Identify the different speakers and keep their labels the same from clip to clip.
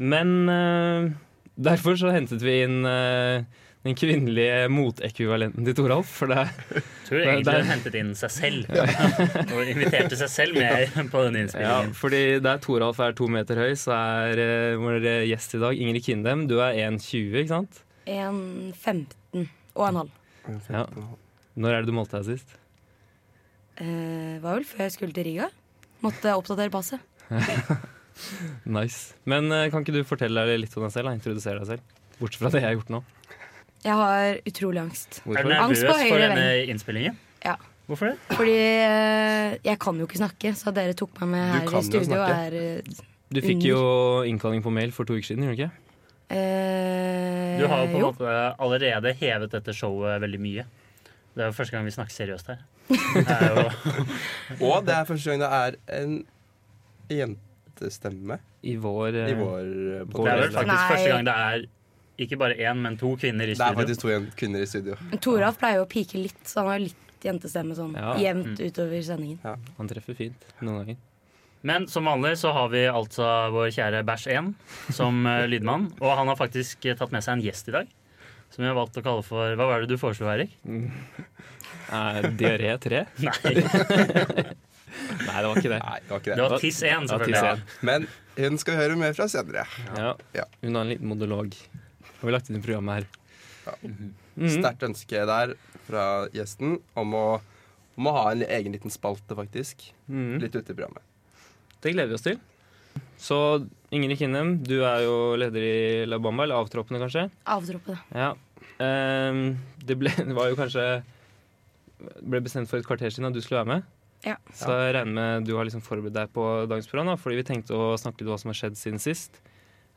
Speaker 1: Men eh, derfor så hentet vi inn eh, den kvinnelige motekvivalenten til Toralf. For det er
Speaker 2: Tror
Speaker 1: Det- det
Speaker 2: egentlig
Speaker 1: er-
Speaker 2: hun hentet inn seg selv. Og inviterte seg selv med på denne
Speaker 1: Ja,
Speaker 2: innspillingen.
Speaker 1: fordi der Toralf er to meter høy, så er eh, vår gjest i dag Ingrid Kindem. Du er 1,20, ikke sant?
Speaker 3: En 15 og en halv.
Speaker 1: Ja. Når er det du målte deg sist?
Speaker 3: Eh, var vel før jeg skulle til Riga. Måtte oppdatere passet.
Speaker 1: Nice. Men eh, kan ikke du fortelle deg litt om deg selv? Da? Introdusere deg selv. Bortsett fra det jeg har gjort nå.
Speaker 3: Jeg har utrolig angst.
Speaker 2: Er du
Speaker 1: Hvorfor?
Speaker 3: Angst
Speaker 2: nervøs
Speaker 3: på høyre
Speaker 2: for denne innspillingen?
Speaker 3: Ja.
Speaker 2: Hvorfor det?
Speaker 3: Fordi eh, jeg kan jo ikke snakke, så dere tok meg med
Speaker 4: Du
Speaker 3: her
Speaker 4: kan
Speaker 3: i
Speaker 4: jo
Speaker 3: studio.
Speaker 4: snakke.
Speaker 3: og Er,
Speaker 1: Du fikk jo innkalling på mail for to uker siden, gjorde du ikke?
Speaker 3: eh,
Speaker 2: Du har jo på en
Speaker 3: jo.
Speaker 2: måte allerede hevet dette showet veldig mye. Det er jo første gang vi snakker seriøst her. Det er jo
Speaker 4: Og det er første gang det er en jentestemme
Speaker 1: I vår, eh,
Speaker 4: i vår eh,
Speaker 2: Det er vel
Speaker 4: podcast.
Speaker 2: faktisk
Speaker 3: Nei.
Speaker 2: første gang det er ikke bare én, men to kvinner i
Speaker 4: Det er
Speaker 2: studio.
Speaker 4: faktisk to jen- kvinner i studio.
Speaker 3: Men Toralf pleier jo å pike litt, så han har jo litt jentestemme sånn
Speaker 1: Ja.
Speaker 3: jevnt utover sendingen.
Speaker 1: Han treffer fint noen ganger.
Speaker 2: Men som vanlig så har vi altså vår kjære Bæsj 1 som eh, lydmann. Og han har faktisk eh, tatt med seg en gjest i dag. Som vi har valgt å kalle for Hva var det du foreslo, Eirik?
Speaker 1: Er diaré 3?
Speaker 2: Nei,
Speaker 1: Nei, det var ikke det.
Speaker 4: Nei, det var ikke
Speaker 2: det
Speaker 4: det.
Speaker 2: var Tiss 1,
Speaker 1: Ja,
Speaker 2: selvfølgelig.
Speaker 1: tiss
Speaker 4: Men hun skal vi høre mer fra senere.
Speaker 1: Ja.
Speaker 4: Ja.
Speaker 1: Hun har en liten monolog. Har vi lagt inn i programmet her. Mhm.
Speaker 4: Sterkt ønske der fra gjesten om å, om å ha en egen liten spalte, faktisk.
Speaker 1: Mhm.
Speaker 4: Litt ute i programmet.
Speaker 1: Det gleder vi oss til. Så Ingrid Kinnem, du er jo leder i La Bamba, eller avtroppende kanskje?
Speaker 3: Avtroppe, da.
Speaker 1: Ja. Ehm, det, ble, det var jo kanskje ble bestemt for et kvarter siden at du skulle være med.
Speaker 3: Ja.
Speaker 1: Så jeg regner med du har liksom forberedt deg på dagens program, da, fordi vi tenkte å snakke litt om hva som har skjedd siden sist.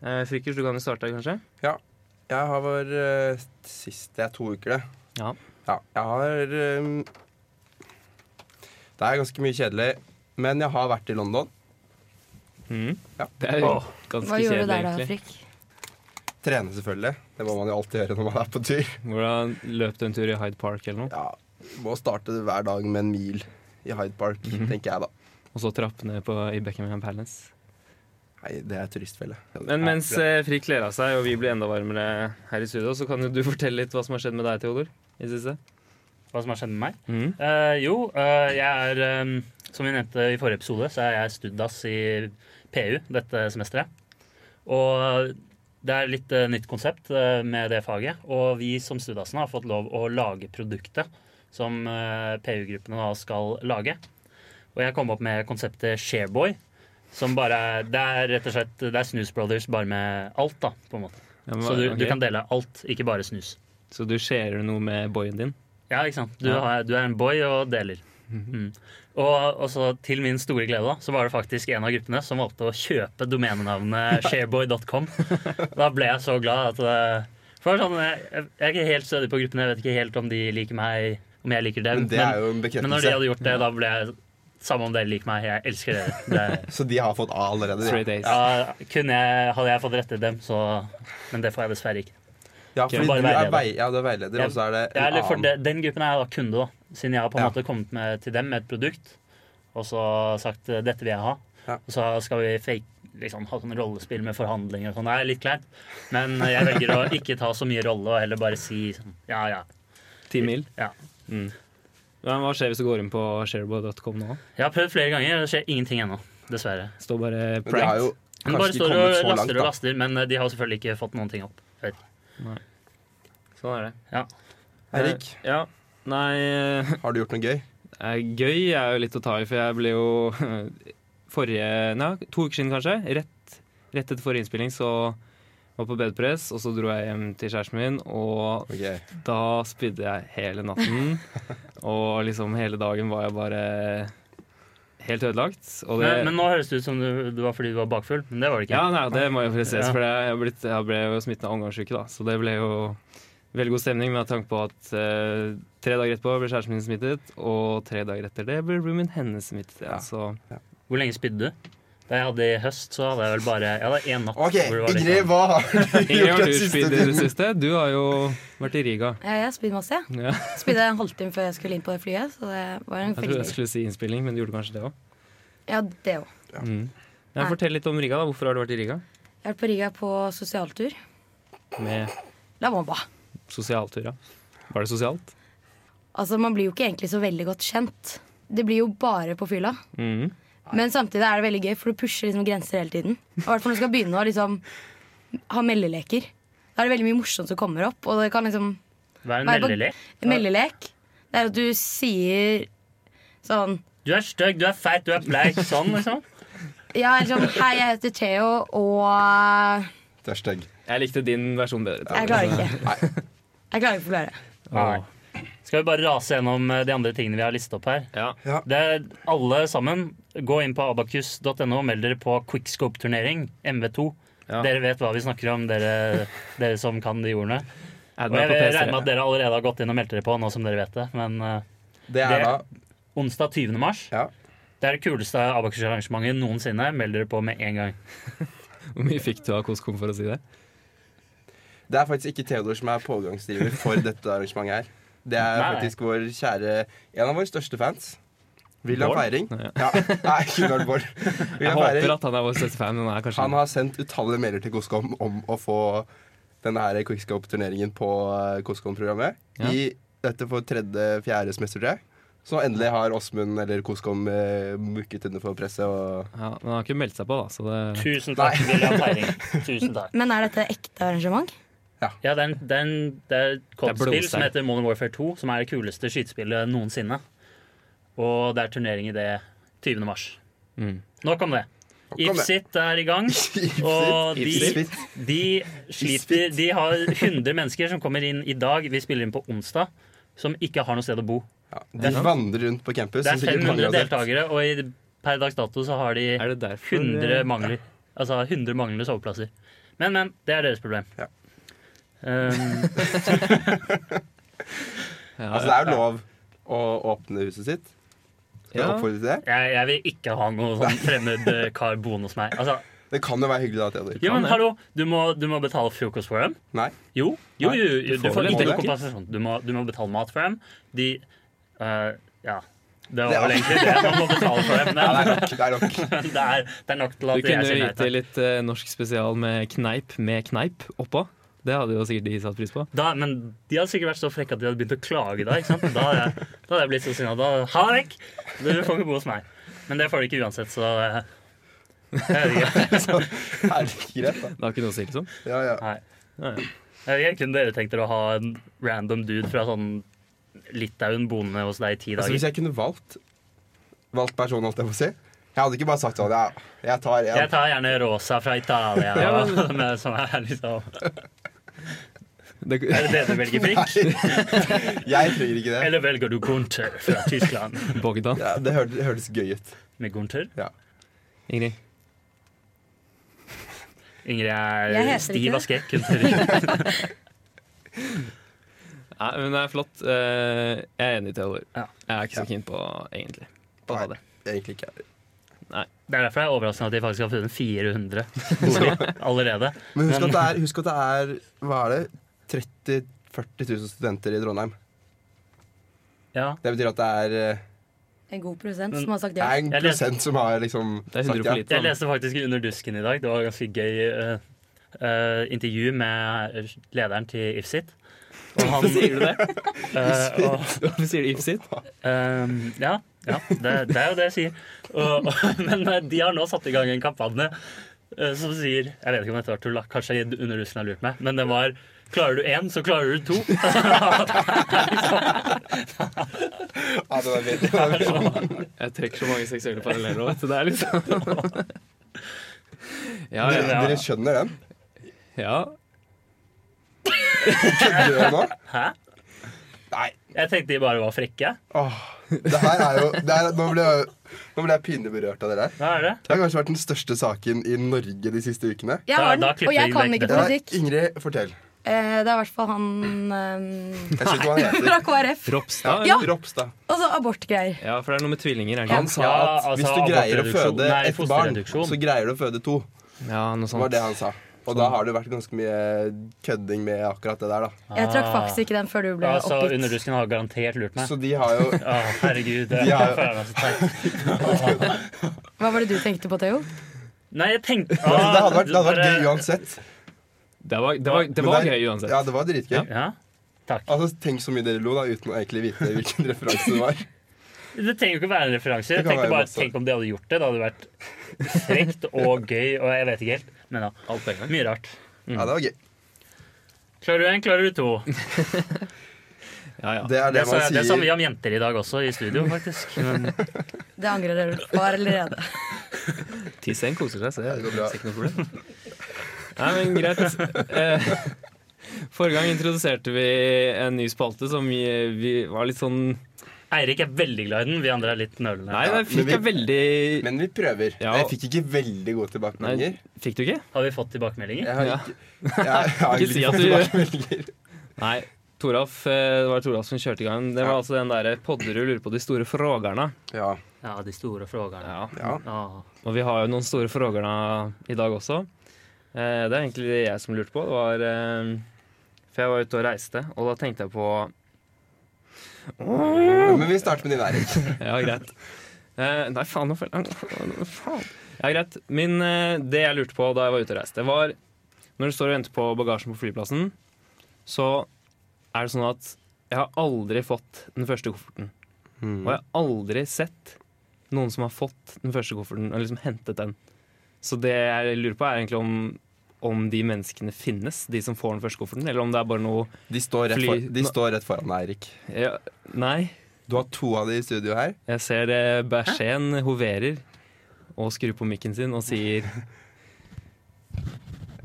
Speaker 1: Uh, Frikkers, du kan jo starte, kanskje?
Speaker 4: Jeg har vår eh, siste er to uker, det.
Speaker 1: Ja.
Speaker 4: Ja, jeg har ehm, Det er ganske mye kjedelig, men jeg har vært i London.
Speaker 1: Mhm.
Speaker 4: Ja.
Speaker 1: Det er
Speaker 2: Åh.
Speaker 1: ganske
Speaker 3: Hva gjorde
Speaker 1: kjedelig,
Speaker 3: du der da,
Speaker 1: egentlig.
Speaker 3: Frikk?
Speaker 4: Trene, selvfølgelig. Det må man jo alltid gjøre når man er på tur.
Speaker 1: Hvordan løp du en tur i Hyde Park eller noe,
Speaker 4: Ja, Må starte hver dag med en mil i Hyde Park, tenker jeg da.
Speaker 1: og så trappene på, i Beckham Palace?
Speaker 4: Nei, det er turistfelle.
Speaker 1: Men mens eh, Frikk kler av seg og vi blir enda varmere her i studio, så kan jo du fortelle litt hva som har skjedd med deg, Theodor, i det siste.
Speaker 2: Hva som har skjedd med meg?
Speaker 1: Mhm.
Speaker 2: Eh, jo, eh, jeg er eh, Som vi nevnte i forrige episode, så er jeg studdass i PU dette semesteret. Og det er litt eh, nytt konsept eh, med det faget. Og vi som studdassene har fått lov å lage produktet som eh, PU-gruppene da skal lage. Og jeg kom opp med konseptet Shareboy. Som bare er- Det er rett og slett Det er Snus Brothers bare med alt, da, på en måte.
Speaker 1: Ja, men
Speaker 2: Så du,
Speaker 1: hva-
Speaker 2: du
Speaker 1: ok.
Speaker 2: kan dele alt, ikke bare snus.
Speaker 1: Så du skjerer noe med boyen din?
Speaker 2: Ja, ikke sant. Du,
Speaker 1: Ja.
Speaker 2: har, du er en boy og deler.
Speaker 4: Mhm.
Speaker 2: Mm. Og, og så til min store glede da, så var det faktisk en av gruppene som valgte å kjøpe domenenavnet shareboy.com. Da ble jeg så glad at det, For det var sånn, jeg, jeg er ikke helt stødig på gruppene, jeg vet ikke helt om de liker meg, om jeg liker dem.
Speaker 4: Men det er jo en
Speaker 2: men når de
Speaker 4: bekreftelse.
Speaker 2: hadde gjort det, da ble jeg Samme om dere liker meg, jeg elsker dere. Det,
Speaker 4: Så de har fått A allerede. de.
Speaker 1: Straight A's.
Speaker 2: ja, kunne jeg, hadde jeg fått rette dem, så Men det får jeg dessverre ikke.
Speaker 4: Ja, fordi
Speaker 2: Bare
Speaker 4: du er,
Speaker 2: veileder.
Speaker 4: vei, ja, du er veileder,
Speaker 2: Ja,
Speaker 4: og så er det
Speaker 2: Ja,
Speaker 4: en
Speaker 2: eller for
Speaker 4: annen.
Speaker 2: de, Den gruppen er jeg da kunde, da. Siden jeg har på en
Speaker 4: Ja.
Speaker 2: måte kommet med, til dem med et produkt og så sagt eh, 'dette vil jeg ha'.
Speaker 4: Ja.
Speaker 2: Og så skal vi fake, liksom, ha sånn rollespill med forhandling og sånn. Det er litt kleint. Men eh, jeg velger å ikke ta så mye rolle og heller bare si sånn, ja, ja.
Speaker 1: Ti mil?
Speaker 2: Ja.
Speaker 1: Mm. Men hva skjer hvis du går inn på shareboy.com nå?
Speaker 2: Jeg har prøvd flere ganger, det skjer ingenting ennå. Dessverre.
Speaker 1: Står bare
Speaker 4: Men det har jo
Speaker 1: pranked.
Speaker 2: Men bare
Speaker 4: kanskje ikke
Speaker 2: står og
Speaker 4: kommet så langt,
Speaker 2: laster og
Speaker 4: da.
Speaker 2: laster, men eh, de har selvfølgelig ikke fått noen ting opp. Jeg vet ikke.
Speaker 1: Sånn er det.
Speaker 2: Ja.
Speaker 4: Eirik,
Speaker 1: Eh, Ja. Nei, eh,
Speaker 4: har du gjort noe gøy?
Speaker 1: eh, gøy er jo litt å ta i, for jeg ble jo forrige Nei, to uker siden kanskje. Rett, rett etter forrige innspilling så var jeg på bedpress, og så dro jeg hjem til kjæresten min, og
Speaker 4: Ok,
Speaker 1: Da spydde jeg hele natten. Og liksom hele dagen var jeg bare helt ødelagt. Og det,
Speaker 2: Men, men nå høres det ut som du, det var fordi du var bakfull, men det var det ikke.
Speaker 1: ja, nei, det må jo presiseres,
Speaker 2: Ja.
Speaker 1: for det- jeg, har blitt, jeg ble jo smittet av omgangsuke, da. Så det ble jo veldig god stemning med tanke på at eh, tre dager etterpå ble kjæresten min smittet, og tre dager etter det ble roomien hennes smittet. Ja.
Speaker 4: Ja.
Speaker 1: Så
Speaker 2: Hvor lenge spydde du? Da jeg hadde i høst, så hadde jeg vel bare Jeg hadde én natt.
Speaker 4: OK,
Speaker 2: hvor det var litt
Speaker 4: Ingrid,
Speaker 2: sånn-
Speaker 4: hva har du
Speaker 1: Ingrid,
Speaker 4: gjort
Speaker 1: har
Speaker 4: den
Speaker 1: du
Speaker 4: siste
Speaker 1: spydd i det
Speaker 4: tiden?
Speaker 1: siste? Du har jo vært i Riga.
Speaker 3: Ja, jeg spydde masse. jeg.
Speaker 1: Ja,
Speaker 3: Spydde en halvtime før jeg skulle inn på det flyet. Så det var en
Speaker 1: jeg trodde jeg
Speaker 3: veldig
Speaker 1: skulle si innspilling, men du gjorde kanskje det òg.
Speaker 3: Ja, det òg.
Speaker 1: Mm. Ja, fortell litt om Riga. da. Hvorfor har du vært i Riga?
Speaker 3: Jeg har vært på Riga på sosialtur.
Speaker 1: Med
Speaker 3: La bomba.
Speaker 1: sosialtur, ja. Var det sosialt?
Speaker 3: Altså, man blir jo ikke egentlig så veldig godt kjent. Det blir jo bare på fylla.
Speaker 1: Mm.
Speaker 3: Men samtidig er det veldig gøy, for du pusher liksom grenser hele tiden. Og i hvert fall når du skal begynne å liksom ha meldeleker. Da er det veldig mye morsomt som kommer opp. Og det kan liksom
Speaker 2: Hva er en
Speaker 3: Nei, på-
Speaker 2: meldelek?
Speaker 3: Meldelek. Det er at du sier sånn
Speaker 2: Du er stygg, du er feit, du er bleik. Sånn, liksom.
Speaker 3: Ja, eller sånn Hei, jeg heter Theo, og eh,
Speaker 4: Det er stygg.
Speaker 1: Jeg likte din versjon bedre. tror jeg.
Speaker 3: Jeg klarer ikke. Jeg klarer ikke å forklare.
Speaker 2: Nei. Skal vi bare rase gjennom eh, de andre tingene vi har listet opp her?
Speaker 1: Ja.
Speaker 2: Det er alle sammen, gå inn på abakus.no og meld dere på quickscope-turnering, MV2.
Speaker 1: Ja.
Speaker 2: Dere vet hva vi snakker om, dere, dere som kan de ordene.
Speaker 1: Add
Speaker 2: Og
Speaker 1: meg
Speaker 2: jeg
Speaker 1: på
Speaker 2: regner med at
Speaker 1: PC.
Speaker 2: dere allerede har gått inn og meldt dere på, nå som dere vet det. Men eh,
Speaker 4: Det er
Speaker 2: Det-
Speaker 4: da
Speaker 2: onsdag 20. mars,
Speaker 4: Ja.
Speaker 2: det er det kuleste abakus-arrangementet noensinne. Meld dere på med en gang.
Speaker 1: Hvor mye fikk du av Koskom for å si det?
Speaker 4: Det er faktisk ikke Theodor som er pågangsdriver for dette arrangementet her. Det er
Speaker 2: Nei.
Speaker 4: faktisk vår kjære En av våre største fans. William
Speaker 2: Bård?
Speaker 4: Feiring.
Speaker 1: Ja.
Speaker 4: Ja. Nei, ikke Lord Bård.
Speaker 1: Jeg
Speaker 4: William
Speaker 1: håper
Speaker 4: Feiring.
Speaker 1: at han er vår største fan, men han er kanskje
Speaker 4: Han har sendt utallige mailer til Koskom om å få denne her Quickscope-turneringen på eh, Koskom-programmet.
Speaker 1: Ja.
Speaker 4: I dette for tredje-fjerde semester, tror jeg. Så endelig har Åsmund eller Koskom eh, mukket under for presset og
Speaker 1: ja, Men han har ikke meldt seg på, da. Så det...
Speaker 2: Tusen takk, William Feiring. Tusen takk.
Speaker 3: Men er dette ekte arrangement?
Speaker 2: Ja, det er, en- det er, en- det er et kortspill
Speaker 1: blodstein.
Speaker 2: som heter Modern Warfare 2, som er det kuleste skytespillet noensinne. Og det er turnering i det 20. mars.
Speaker 1: Mm.
Speaker 2: Nok om det.
Speaker 4: om det.
Speaker 2: Ipsit er i gang, og de,
Speaker 4: Ipsit.
Speaker 2: de sliter De har 100 mennesker som kommer inn i dag, vi spiller inn på onsdag, som ikke har noe sted å bo.
Speaker 4: ja, De vandrer rundt på campus.
Speaker 2: Det er
Speaker 4: som sikkert mange
Speaker 2: 500
Speaker 4: har sett.
Speaker 2: deltakere, og i, per dags dato så har de
Speaker 1: Er det derfor
Speaker 4: eh,
Speaker 2: 100 mangler. Altså 100 manglende soveplasser. Men, men. Det er deres problem.
Speaker 4: Ja.
Speaker 2: Um,
Speaker 1: Ja,
Speaker 4: Altså, det er jo lov å åpne huset sitt. Skal jeg
Speaker 1: Ja.
Speaker 4: oppfordre til det?
Speaker 2: Jeg, jeg vil ikke ha noe sånn fremmed eh, kar boende hos meg. Altså,
Speaker 4: Det kan jo være hyggelig da, Theodor.
Speaker 2: jo, men
Speaker 1: det.
Speaker 2: hallo, du må, du må betale frokost for dem.
Speaker 4: Nei.
Speaker 2: Jo, jo,
Speaker 4: Nei,
Speaker 2: jo, jo du
Speaker 1: får
Speaker 2: får
Speaker 1: vel
Speaker 2: ikke
Speaker 4: det.
Speaker 2: noe kompensasjon. Du må, du må betale mat for dem. De eh, Ja.
Speaker 4: Det
Speaker 2: Det var
Speaker 4: er-
Speaker 2: vel egentlig det man må betale for
Speaker 4: Ja,
Speaker 2: dem.
Speaker 4: det
Speaker 2: Men
Speaker 4: er nok. Det er nok.
Speaker 2: det er, det er nok til
Speaker 1: Du
Speaker 2: at jeg
Speaker 1: kunne
Speaker 2: sier nei.
Speaker 1: gitt til
Speaker 2: takk.
Speaker 1: litt eh, norsk spesial med kneip med kneip oppå. Det hadde jo sikkert de satt pris på.
Speaker 2: Da, men de hadde sikkert vært så frekke at de hadde begynt å klage da. ikke sant? Da hadde jeg, da hadde jeg blitt så sinna. Da ha deg vekk! Du får ikke bo hos meg. Men det får du ikke uansett, så eh, jeg vet ikke.
Speaker 4: Herlig, greit, da.
Speaker 1: Det har ikke noe å si, liksom.
Speaker 4: Ja, ja.
Speaker 2: Nei.
Speaker 1: Ja, ja.
Speaker 2: Jeg vet ikke om dere tenkte å ha en random dude fra sånn Litauen boende hos deg i ti
Speaker 4: Altså,
Speaker 2: dager.
Speaker 4: hvis jeg kunne valgt Valgt person, holdt jeg på å si. Jeg hadde ikke bare sagt sånn. Ja, jeg tar en.
Speaker 2: Jeg tar gjerne Rosa fra Italia,
Speaker 1: Ja,
Speaker 2: og- men som er liksom
Speaker 1: Det,
Speaker 2: Er det det du velger, Frikk?
Speaker 4: Jeg trenger ikke det.
Speaker 2: Eller velger du Gunther fra Tyskland?
Speaker 1: Bogdan.
Speaker 4: Ja, det hørtes, hørtes gøy ut.
Speaker 2: Med Gunther?
Speaker 4: Ja.
Speaker 1: Ingrid.
Speaker 2: Ingrid
Speaker 3: Jeg
Speaker 2: er
Speaker 3: heter ikke
Speaker 2: stiv
Speaker 3: det.
Speaker 2: av skrekk. under-
Speaker 1: Nei, men det er flott. Eh, jeg er enig, Theodor.
Speaker 2: Ja.
Speaker 1: Jeg er ikke så
Speaker 4: Ja.
Speaker 1: keen på egentlig på å ha det.
Speaker 4: Egentlig ikke.
Speaker 2: Det er derfor jeg er overraskende at de faktisk har funnet 400 boliger allerede.
Speaker 4: Men husk at det er, husk at det er Hva er det? 30 40 000 studenter i Trondheim.
Speaker 2: Ja,
Speaker 4: Det betyr at det er, eh,
Speaker 3: En god prosent som har sagt
Speaker 4: det
Speaker 3: ja.
Speaker 4: er en
Speaker 2: Jeg leste-
Speaker 4: prosent som har liksom
Speaker 1: Det er 100 for lite.
Speaker 2: Jeg leste faktisk Under dusken i dag. Det var et ganske gøy eh, eh, intervju med lederen til Ifsit. Og han,
Speaker 1: Sier du det?
Speaker 2: eh, og,
Speaker 1: Hvorfor sier du Ifsit?
Speaker 2: Ehm, ja, ja det, det er jo det jeg sier. Og, og, men eh, de har nå satt i gang en kampanje eh, som sier Jeg vet ikke om dette var tull, da. kanskje under russen har lurt meg, men den var Klarer du én, så klarer du to.
Speaker 4: Ja, det var fint. Det var fint.
Speaker 1: Jeg trekker så mange seksuelle paralleller òg, vet du. Det er liksom Ja,
Speaker 4: Dere,
Speaker 1: ja.
Speaker 4: dere skjønner den?
Speaker 1: ja.
Speaker 4: Kødder dere nå?
Speaker 2: Hæ?
Speaker 4: Nei.
Speaker 2: Jeg tenkte de bare var frekke.
Speaker 4: Åh, det her er jo det her, nå, ble jeg, nå ble jeg pinlig berørt av det der.
Speaker 2: Hva er det?
Speaker 4: Det har kanskje vært den største saken i Norge de siste ukene.
Speaker 3: Jeg
Speaker 2: Da-
Speaker 3: har den,
Speaker 2: da klipper
Speaker 3: og jeg
Speaker 2: vi
Speaker 3: kan
Speaker 2: vekk
Speaker 3: ikke
Speaker 2: det.
Speaker 4: Ja,
Speaker 3: politikk.
Speaker 4: Ingrid, fortell.
Speaker 3: Eh, det er i hvert fall han eh,
Speaker 4: Jeg skjønner ikke hva han heter.
Speaker 3: fra KrF.
Speaker 1: Ropstad?
Speaker 3: Ja.
Speaker 1: eller?
Speaker 4: Ropstad.
Speaker 3: Og så Altså, abortgreier.
Speaker 1: ja, for det er noe med tvillinger. Er det
Speaker 4: Han
Speaker 1: ikke?
Speaker 4: sa
Speaker 2: Ja,
Speaker 4: at
Speaker 2: altså,
Speaker 4: hvis du greier å
Speaker 2: abortreduksjon-
Speaker 4: føde
Speaker 2: nei,
Speaker 4: ett barn,
Speaker 2: fosterreduksjon.
Speaker 4: så greier du å føde to.
Speaker 1: Ja, noe
Speaker 4: Det var
Speaker 1: sånt.
Speaker 4: det han sa. Og
Speaker 2: Sånn.
Speaker 4: da har det vært ganske mye kødding med akkurat det der, da.
Speaker 3: Jeg trakk faktisk ikke den før du ble
Speaker 2: Altså,
Speaker 3: oppgitt.
Speaker 2: Underdusken har garantert lurt meg.
Speaker 4: Så de har jo
Speaker 2: Å, herregud. altså, Det
Speaker 4: Ja.
Speaker 2: jeg føler meg så teit.
Speaker 3: Hva var det du tenkte på, Theo?
Speaker 2: Nei, jeg Ah, tenkte
Speaker 4: altså, Det hadde vært, det hadde vært
Speaker 2: Bare-
Speaker 4: gøy uansett.
Speaker 1: Det var, det var, det
Speaker 4: Men
Speaker 1: var
Speaker 4: det-
Speaker 1: gøy uansett.
Speaker 4: Ja, det var dritgøy.
Speaker 1: Ja.
Speaker 2: Ja.
Speaker 4: Altså, Tenk så mye dere lo da, uten å egentlig vite hvilken referanse det var.
Speaker 2: Det trenger jo ikke å være en referanse.
Speaker 4: Det
Speaker 2: Jeg
Speaker 4: kan
Speaker 2: tenkte
Speaker 4: være
Speaker 2: bare,
Speaker 4: masse.
Speaker 2: Tenk om de hadde gjort det. Det hadde vært frekt og gøy og jeg vet ikke helt. Men ja,
Speaker 1: Alt på en gang.
Speaker 2: mye rart.
Speaker 4: Ja, det var gøy.
Speaker 2: Klarer du én, klarer du to. Det,
Speaker 1: Ja, ja.
Speaker 4: Det er det,
Speaker 2: sa,
Speaker 4: man
Speaker 2: det sa vi
Speaker 4: sier.
Speaker 2: om jenter i dag også, i studio, faktisk. Men
Speaker 3: Det angrer dere på allerede.
Speaker 1: Tissen koser seg, så
Speaker 4: det
Speaker 1: det
Speaker 4: går
Speaker 1: er
Speaker 4: bra.
Speaker 1: ikke noe problem. Nei, men greit. Eh, Forrige gang introduserte vi en ny spalte som vi, vi var litt sånn
Speaker 2: Eirik er veldig glad i den. Vi andre er litt nølende.
Speaker 1: Nei,
Speaker 4: Ja,
Speaker 1: den fikk jeg
Speaker 4: men
Speaker 1: veldig
Speaker 4: Men vi prøver.
Speaker 1: Ja.
Speaker 4: Jeg fikk ikke veldig gode
Speaker 1: Nei,
Speaker 4: tilbakemeldinger.
Speaker 1: Fikk du ikke?
Speaker 2: Har vi fått tilbakemeldinger?
Speaker 4: Jeg har
Speaker 1: Ja.
Speaker 4: ikke, jeg, jeg har
Speaker 1: Ikke si
Speaker 4: ikke
Speaker 1: at
Speaker 4: fått tilbakemeldinger.
Speaker 1: Nei. Toralf, eh, det var Toralf som kjørte i gang. Det var
Speaker 4: Ja.
Speaker 1: altså den derre 'Podderud lurer på de store frågerne'.
Speaker 4: Ja,
Speaker 2: Ja, de store frågerne.
Speaker 1: Ja.
Speaker 4: ja.
Speaker 2: Ah.
Speaker 1: Og vi har jo noen store frågerne i dag også. Eh, Det er egentlig det jeg som lurte på. Det var eh, For jeg var ute og reiste, og da tenkte jeg på
Speaker 4: Men vi starter med din, Eirik.
Speaker 1: Ja, greit. Eh, nei, faen, nå føler jeg Faen. Ja, greit. Min, eh, det jeg lurte på da jeg var ute og reiste, var Når du står og venter på bagasjen på flyplassen, så er det sånn at jeg har aldri fått den første kofferten. Og jeg har aldri sett noen som har fått den første kofferten og liksom hentet den. Så det jeg lurer på, er egentlig om om de menneskene finnes, de som får den første kofferten, eller om det er bare noe
Speaker 4: De står rett,
Speaker 1: Fly-
Speaker 4: for, de
Speaker 1: Nå-
Speaker 4: står rett foran deg, Eirik.
Speaker 1: ja, Nei,
Speaker 4: Du har to av de i studio her.
Speaker 1: Jeg ser det Bersen hoverer og skrur på mikken sin og sier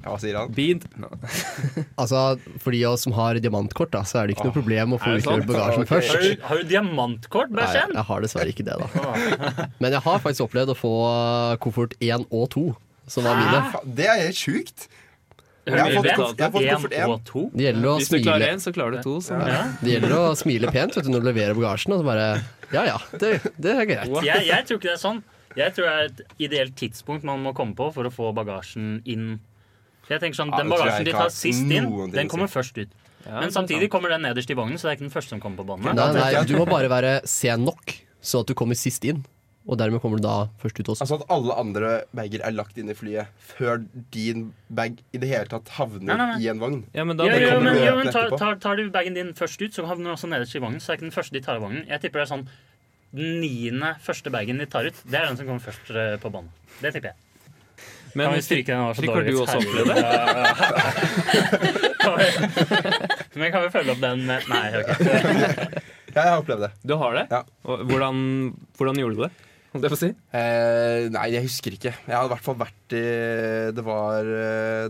Speaker 4: Ja, Hva sier han?
Speaker 1: Beat.
Speaker 5: Altså, For de av oss som har diamantkort, da, så er det ikke noe problem å
Speaker 1: er
Speaker 5: få
Speaker 1: det
Speaker 5: utlevert
Speaker 1: sant?
Speaker 5: bagasjen
Speaker 4: Ok.
Speaker 5: først.
Speaker 2: Har du, har du diamantkort,
Speaker 5: Nei,
Speaker 2: Bersen?
Speaker 5: jeg har dessverre ikke det, da.
Speaker 2: Ah.
Speaker 5: Men jeg har faktisk opplevd å få koffert én og to, som var mine.
Speaker 4: Faen, Det er helt sjukt! Jeg har
Speaker 2: Hører
Speaker 4: fått
Speaker 2: dere
Speaker 4: koff- jeg har fått koffert
Speaker 2: det?
Speaker 4: én.
Speaker 2: Én og to?
Speaker 5: Det gjelder å
Speaker 1: Hvis du klarer
Speaker 5: smile,
Speaker 1: én, så klarer du to. Så.
Speaker 2: Ja.
Speaker 5: det gjelder å smile pent vet du, når du leverer bagasjen, og så bare Ja ja, det, det er greit.
Speaker 2: Jeg, jeg tror ikke det er sånn. Jeg tror det er et ideelt tidspunkt man må komme på for å få bagasjen inn. For jeg tenker sånn,
Speaker 4: Ja,
Speaker 2: Den
Speaker 4: det tror jeg
Speaker 2: bagasjen de
Speaker 4: ikke
Speaker 2: tar
Speaker 4: har
Speaker 2: sist inn,
Speaker 4: noen ting
Speaker 2: den
Speaker 4: å
Speaker 2: kommer først ut.
Speaker 1: Ja, det
Speaker 2: Men
Speaker 1: er
Speaker 2: samtidig
Speaker 1: sant.
Speaker 2: kommer den nederst i vognen, så det er ikke den første som kommer på båndet.
Speaker 5: Nei, nei, du må bare være sen nok, så at du kommer sist inn. Og dermed kommer du da først ut også.
Speaker 4: Altså At alle andre bager er lagt inn i flyet før din bag i det hele tatt havner
Speaker 2: Nei, nei, nei.
Speaker 4: i en vogn.
Speaker 1: Ja, men da
Speaker 2: Jo,
Speaker 4: det
Speaker 2: jo,
Speaker 4: kommer
Speaker 2: men,
Speaker 4: du
Speaker 2: jo,
Speaker 4: til
Speaker 2: men tar,
Speaker 4: etterpå.
Speaker 2: tar, tar du bagen din først ut, så havner den også nederst i vognen. Så det er ikke den første de tar i vognen. Jeg tipper det er sånn den niende første bagen de tar ut, det er den som kommer først eh, på båndet. Det tipper jeg.
Speaker 1: Men
Speaker 2: Kan vi stryke den? den var så
Speaker 1: fikk- fikk
Speaker 2: dårlig.
Speaker 1: du også oppleve det?
Speaker 2: Herregud. Men kan vi følge opp den med Nei, ok.
Speaker 4: Ja, jeg har opplevd det.
Speaker 1: Du har det?
Speaker 4: Ja.
Speaker 1: Og Hvordan, hvordan gjorde du det? Holdt jeg på å si.
Speaker 4: Eh, nei, jeg husker ikke. Jeg hadde i hvert fall vært i Det var eh,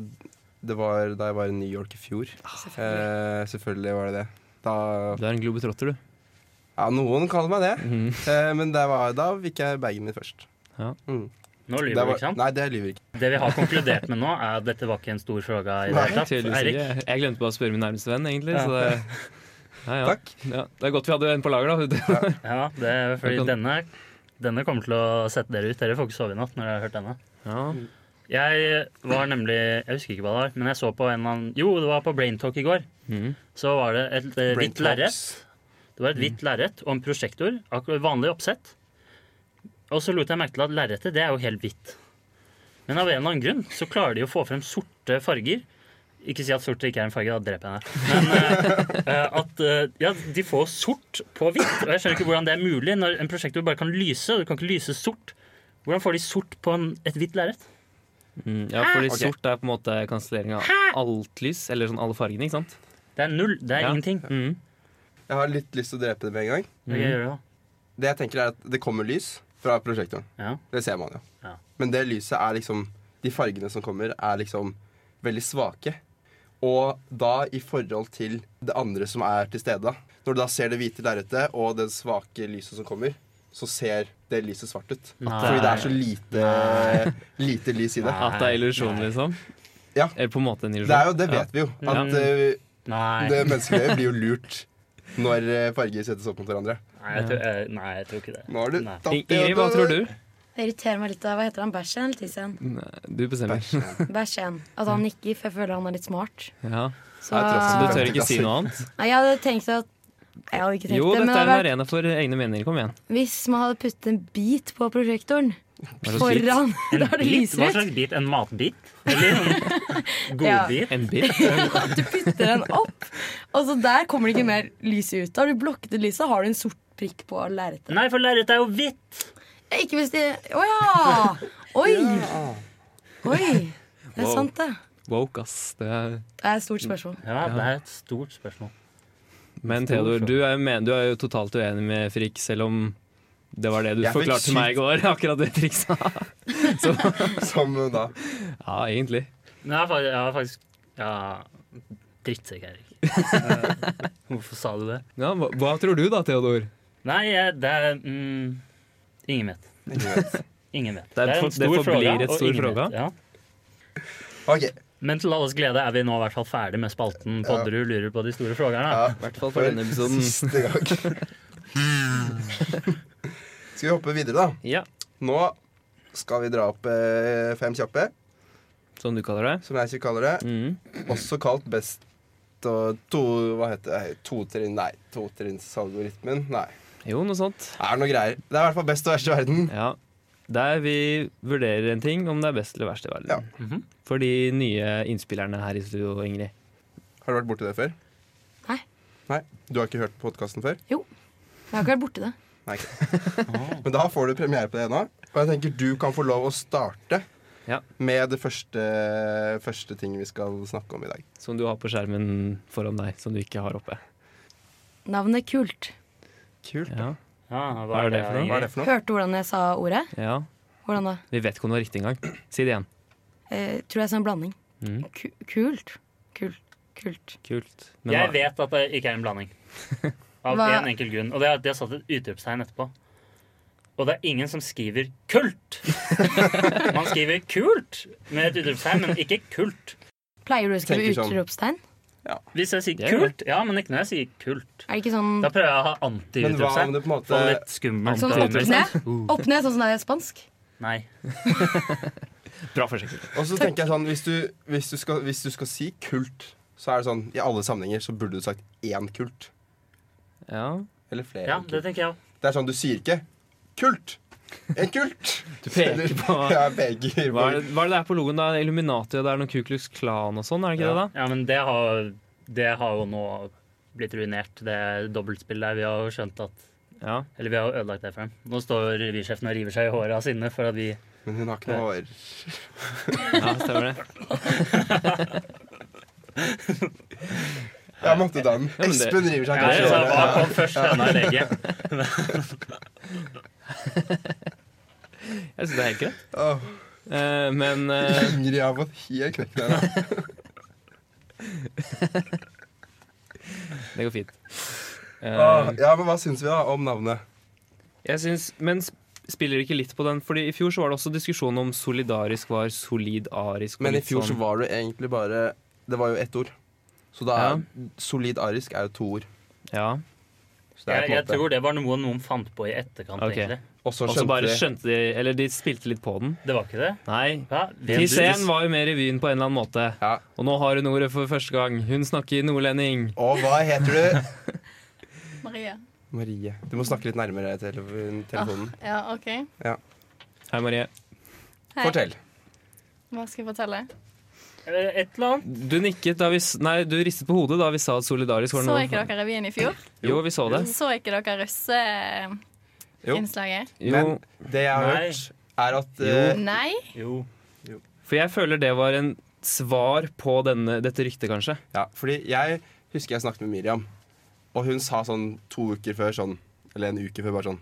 Speaker 4: Det var da jeg var i New York i fjor.
Speaker 2: Ah,
Speaker 4: Eh, selvfølgelig var det det. Da
Speaker 1: Du er en globetrotter, du.
Speaker 4: Ja, noen kaller meg det. Eh, men det var, da fikk jeg bagen min først.
Speaker 1: Ja.
Speaker 4: Mm.
Speaker 2: Nå
Speaker 4: Det
Speaker 2: lyver
Speaker 4: var,
Speaker 2: du, ikke sant?
Speaker 4: nei, det lyver jeg ikke.
Speaker 2: Det vi har konkludert med nå, er at dette var ikke en stor fråga i det
Speaker 4: Nei,
Speaker 2: hele tatt.
Speaker 1: Tydeligvis
Speaker 2: Eirik,
Speaker 1: ikke. Jeg glemte bare å spørre min nærmeste venn, egentlig.
Speaker 2: Ja.
Speaker 1: Så det, ja, ja.
Speaker 4: Takk.
Speaker 1: Ja, det er godt vi hadde en på lager, da.
Speaker 2: ja, det er fordi
Speaker 1: Jeg kan-
Speaker 2: denne, denne kommer til å sette dere ut. Dere får ikke sove i natt når dere har hørt denne.
Speaker 1: Ja.
Speaker 2: Jeg var nemlig Jeg husker ikke hva det var, men jeg så på en eller annen Jo, det var på Braintalk i går.
Speaker 1: Mhm.
Speaker 2: Så var det et eh,
Speaker 4: Brain
Speaker 2: hvitt lerret.
Speaker 4: Talks.
Speaker 2: Det var et
Speaker 1: Mm.
Speaker 2: hvitt lerret og en prosjektor. akkurat Vanlig oppsett. Og så lot jeg merke til at lerretet det er jo helt hvitt. Men av en eller annen grunn så klarer de å få frem sorte farger. Ikke si at sort ikke er en farge, da dreper jeg deg. Men eh, eh, at eh, ja, de får sort på hvitt. Og jeg skjønner ikke hvordan det er mulig når en prosjektor bare kan lyse. og du kan ikke lyse sort. Hvordan får de sort på en, et hvitt lerret?
Speaker 1: Mm, ja, fordi
Speaker 4: Ok.
Speaker 1: sort er på en måte kansellering av alt lys, eller sånn alle fargene, ikke sant?
Speaker 2: Det er null. Det er
Speaker 1: Ja.
Speaker 2: ingenting.
Speaker 1: Mm.
Speaker 4: Jeg har litt lyst til å drepe det med en gang.
Speaker 2: Ok, gjør det da.
Speaker 4: Det jeg tenker er at det kommer lys fra prosjektoren.
Speaker 2: Ja.
Speaker 4: Det ser man jo.
Speaker 2: Ja.
Speaker 4: Men det lyset er liksom De fargene som kommer, er liksom veldig svake. Og da i forhold til det andre som er til stede. da. Når du da ser det hvite lerretet og det svake lyset som kommer, så ser det lyset svart ut.
Speaker 2: Nei.
Speaker 4: Fordi det er så lite, lite lys i det.
Speaker 1: At det er illusjon,
Speaker 2: Nei.
Speaker 1: liksom?
Speaker 4: Ja.
Speaker 1: Eller på en måte en illusjon?
Speaker 4: Det er jo, det vet vi jo.
Speaker 2: Ja.
Speaker 4: At eh,
Speaker 2: Nei.
Speaker 4: det menneskelige blir jo lurt når eh, farger settes opp mot hverandre.
Speaker 2: Nei, jeg tror, eh, nei, jeg tror ikke det.
Speaker 4: Nå har du
Speaker 2: Nei.
Speaker 4: tatt
Speaker 1: I- Ingrid, hva tror du?
Speaker 3: Det irriterer meg litt av Hva heter han? Bæsjen eller Tissen?
Speaker 1: Nei, Du bestemmer.
Speaker 4: Bæsj.
Speaker 3: Bæsjen. At Altså, han nikker, for jeg føler han er litt smart.
Speaker 1: Ja.
Speaker 3: Så
Speaker 4: Jeg tror også
Speaker 1: Så du
Speaker 4: det
Speaker 1: tør ikke si noe annet?
Speaker 3: Nei, jeg hadde tenkt at Nei, Jeg hadde ikke tenkt
Speaker 1: Jo,
Speaker 3: det, men
Speaker 1: dette
Speaker 3: det
Speaker 1: er en
Speaker 3: hadde vært,
Speaker 1: arena for egne meninger. Kom igjen.
Speaker 3: hvis man hadde puttet en bit på prosjektoren
Speaker 1: Hva slags bit?
Speaker 3: foran,
Speaker 2: En bit?
Speaker 3: da det
Speaker 2: Hva
Speaker 3: lyser ut.
Speaker 2: slags bit? En matbit? Eller en
Speaker 3: Ja.
Speaker 2: godbit?
Speaker 1: En bit?
Speaker 3: At du putter den opp, og så der kommer det ikke mer lys ut. Da har du blokket ut lyset, har du en sort prikk på lerretet.
Speaker 2: Nei, for lerret er jo hvitt!
Speaker 3: Ja, Ikke hvis de Å ja! Oi! Oi! Det er
Speaker 1: Wow.
Speaker 3: sant, det.
Speaker 1: Woke, ass. Det er...
Speaker 3: Det er et stort spørsmål.
Speaker 2: Ja, det er et stort spørsmål.
Speaker 1: Men Theodor, du er, men, du er jo totalt uenig med Frikk, selv om det var det du
Speaker 4: Jeg fikk
Speaker 1: forklarte
Speaker 4: sykt-
Speaker 1: meg i går. Akkurat det trikset.
Speaker 4: Som da
Speaker 1: Ja, egentlig.
Speaker 2: Men jeg har fa- jeg har faktisk Ja, drittsekk, Erik. Eh, Hvorfor sa du det?
Speaker 1: Ja, hva, hva tror du da, Theodor?
Speaker 2: Nei, jeg- det er mm, Ingen vet.
Speaker 4: Ingen vet.
Speaker 2: Ingen vet.
Speaker 1: Det er for- det forblir et
Speaker 2: og
Speaker 1: stor
Speaker 2: ingen
Speaker 1: fråga.
Speaker 2: vet, Ja.
Speaker 4: OK.
Speaker 2: Men til alles glede er vi nå i hvert fall ferdig med spalten Podderud lurer på de store
Speaker 4: Ja,
Speaker 2: frågerne.
Speaker 1: I hvert fall
Speaker 4: for denne
Speaker 1: episoden.
Speaker 4: siste gang. Skal vi hoppe videre, da?
Speaker 1: Ja,
Speaker 4: Nå skal vi dra opp eh, fem kjappe,
Speaker 1: Som du kaller det.
Speaker 4: som jeg ikke kaller det.
Speaker 1: Mm.
Speaker 4: Også kalt best og to Hva heter det? Totrinn? Nei. Totrinnsalgoritmen? Nei.
Speaker 1: Jo, noe sånt.
Speaker 4: Det er noe greier. Det er i hvert fall best og verst i verden.
Speaker 1: Ja. Der vi vurderer en ting, om det er best eller verst i verden.
Speaker 4: Ja.
Speaker 2: Mhm.
Speaker 1: For de nye innspillerne her i studio, Ingrid.
Speaker 4: Har du vært borti det før?
Speaker 3: Nei.
Speaker 4: Nei? Du har ikke hørt på podkasten før?
Speaker 3: Jeg har ikke vært borti det.
Speaker 4: Nei. ok. Men da får du premiere på det ennå. Og jeg tenker du kan få lov å starte
Speaker 1: Ja.
Speaker 4: med det første, første ting vi skal snakke om i dag.
Speaker 1: Som du har på skjermen foran deg, som du ikke har oppe.
Speaker 3: Navnet Kult.
Speaker 4: Kult.
Speaker 1: Ja,
Speaker 2: Ja,
Speaker 1: Hva er det for noe?
Speaker 4: Hva er det for noe?
Speaker 3: Hørte du hvordan jeg sa ordet?
Speaker 1: ja.
Speaker 3: Hvordan da?
Speaker 1: Vi vet ikke om det var riktig engang. Si det igjen.
Speaker 3: Eh, tror jeg sa en blanding.
Speaker 1: Mm.
Speaker 3: Ku- Kult. Kult. Kult.
Speaker 1: Kult.
Speaker 2: Jeg
Speaker 1: hva-
Speaker 2: vet at det ikke er en blanding. Av
Speaker 3: Hva-
Speaker 2: én enkel grunn. Og det er at de har satt et utropstegn etterpå. Og det er ingen som skriver 'kult'. Man skriver 'kult' med et utropstegn, men ikke 'kult'.
Speaker 3: Pleier du å
Speaker 4: Tenker
Speaker 3: skrive
Speaker 4: sånn.
Speaker 3: utropstegn?
Speaker 2: Hvis jeg sier
Speaker 1: Jeg gjør
Speaker 2: 'kult', ja, men ikke når jeg sier 'kult'.
Speaker 3: Er det ikke sånn
Speaker 2: Da prøver jeg å
Speaker 4: Men
Speaker 2: ha
Speaker 4: hva om
Speaker 2: anti-utropstegn.
Speaker 4: det på en måte
Speaker 2: Få litt skummelt.
Speaker 3: Sånn opp
Speaker 2: utropstegn.
Speaker 3: ned? Opp ned, sånn som det er i spansk?
Speaker 2: Nei.
Speaker 1: Bra forsøk.
Speaker 4: Og så tenker jeg sånn, hvis du, hvis, du skal, hvis du skal si kult, så er det sånn I alle sammenhenger så burde du sagt én kult.
Speaker 1: Ja.
Speaker 4: Eller flere.
Speaker 2: Ja, det
Speaker 4: kult.
Speaker 2: tenker jeg òg.
Speaker 4: Det er sånn, du sier ikke 'kult'. En kult!
Speaker 1: Du peker på
Speaker 4: Ja, jeg peker på
Speaker 1: Hva er, det, hva er det der på logoen? da? Illuminati, og det er noen Kuklux Klan og sånn, er det ikke det? da?
Speaker 2: Ja, men det har, det har jo nå blitt ruinert, det dobbeltspillet der. Vi har jo skjønt at
Speaker 1: Ja.
Speaker 2: Eller vi har jo ødelagt det for dem. Nå står revysjefen og river seg i håret av sinne for at vi
Speaker 4: Men hun har ikke noe hår.
Speaker 1: ja, stemmer det.
Speaker 4: Jeg måtte ta den.
Speaker 1: men det-
Speaker 4: Espen river seg
Speaker 2: Nei,
Speaker 4: kanskje i
Speaker 2: altså, Hva
Speaker 4: håret.
Speaker 2: kom først, denne eller egget?
Speaker 1: Jeg syns det er helt greit.
Speaker 4: Ja. Åh,
Speaker 1: Eh, men eh,
Speaker 4: Ingrid har fått helt knekk der. da.
Speaker 1: det går fint. Eh,
Speaker 4: Åh, Ja, men hva syns vi da om navnet?
Speaker 1: jeg synes, Men sp- spiller ikke litt på den? Fordi i fjor så var det også diskusjon om solidarisk var solidarisk. og
Speaker 4: Men i
Speaker 1: litt
Speaker 4: fjor så
Speaker 1: sånn-
Speaker 4: var det egentlig bare Det var jo ett ord. Så da
Speaker 1: Ja.
Speaker 4: er solid arisk er jo to ord.
Speaker 1: Ja.
Speaker 4: Så det er
Speaker 2: Jeg,
Speaker 4: på en
Speaker 2: jeg
Speaker 4: måte-
Speaker 2: tror det var noe noen fant på i etterkant,
Speaker 1: Ok.
Speaker 2: egentlig.
Speaker 4: Og så
Speaker 1: Og så bare
Speaker 4: skjønte vi
Speaker 1: skjønte de Eller de spilte litt på den.
Speaker 2: Det var ikke det?
Speaker 1: Nei.
Speaker 2: Ja, vet du-
Speaker 1: Tissen var jo med i revyen på en eller annen måte.
Speaker 4: ja.
Speaker 1: Og nå har hun ordet for første gang. Hun snakker nordlending.
Speaker 4: Og hva heter du?
Speaker 6: Marie.
Speaker 4: Marie. Du må snakke litt nærmere til telefonen.
Speaker 6: Ja, OK.
Speaker 1: Hei, Marie.
Speaker 6: Hei.
Speaker 4: Fortell.
Speaker 6: Hva skal jeg fortelle?
Speaker 2: Et eller annet.
Speaker 1: Du nikket da vi s- Nei, du ristet på hodet da vi sa at solidarisk var
Speaker 6: Så
Speaker 1: noe
Speaker 6: ikke dere revyen i fjor?
Speaker 1: Jo, vi så det.
Speaker 6: Så ikke dere russeinnslaget?
Speaker 4: Jo.
Speaker 1: Jo,
Speaker 4: Men- Det jeg har
Speaker 2: Nei.
Speaker 4: hørt, er at
Speaker 1: Jo.
Speaker 4: eh,
Speaker 6: Nei?
Speaker 2: Jo.
Speaker 1: for jeg føler det var en svar på denne, dette ryktet, kanskje.
Speaker 4: Ja, fordi jeg husker jeg snakket med Miriam, og hun sa sånn to uker før sånn Eller en uke før, bare sånn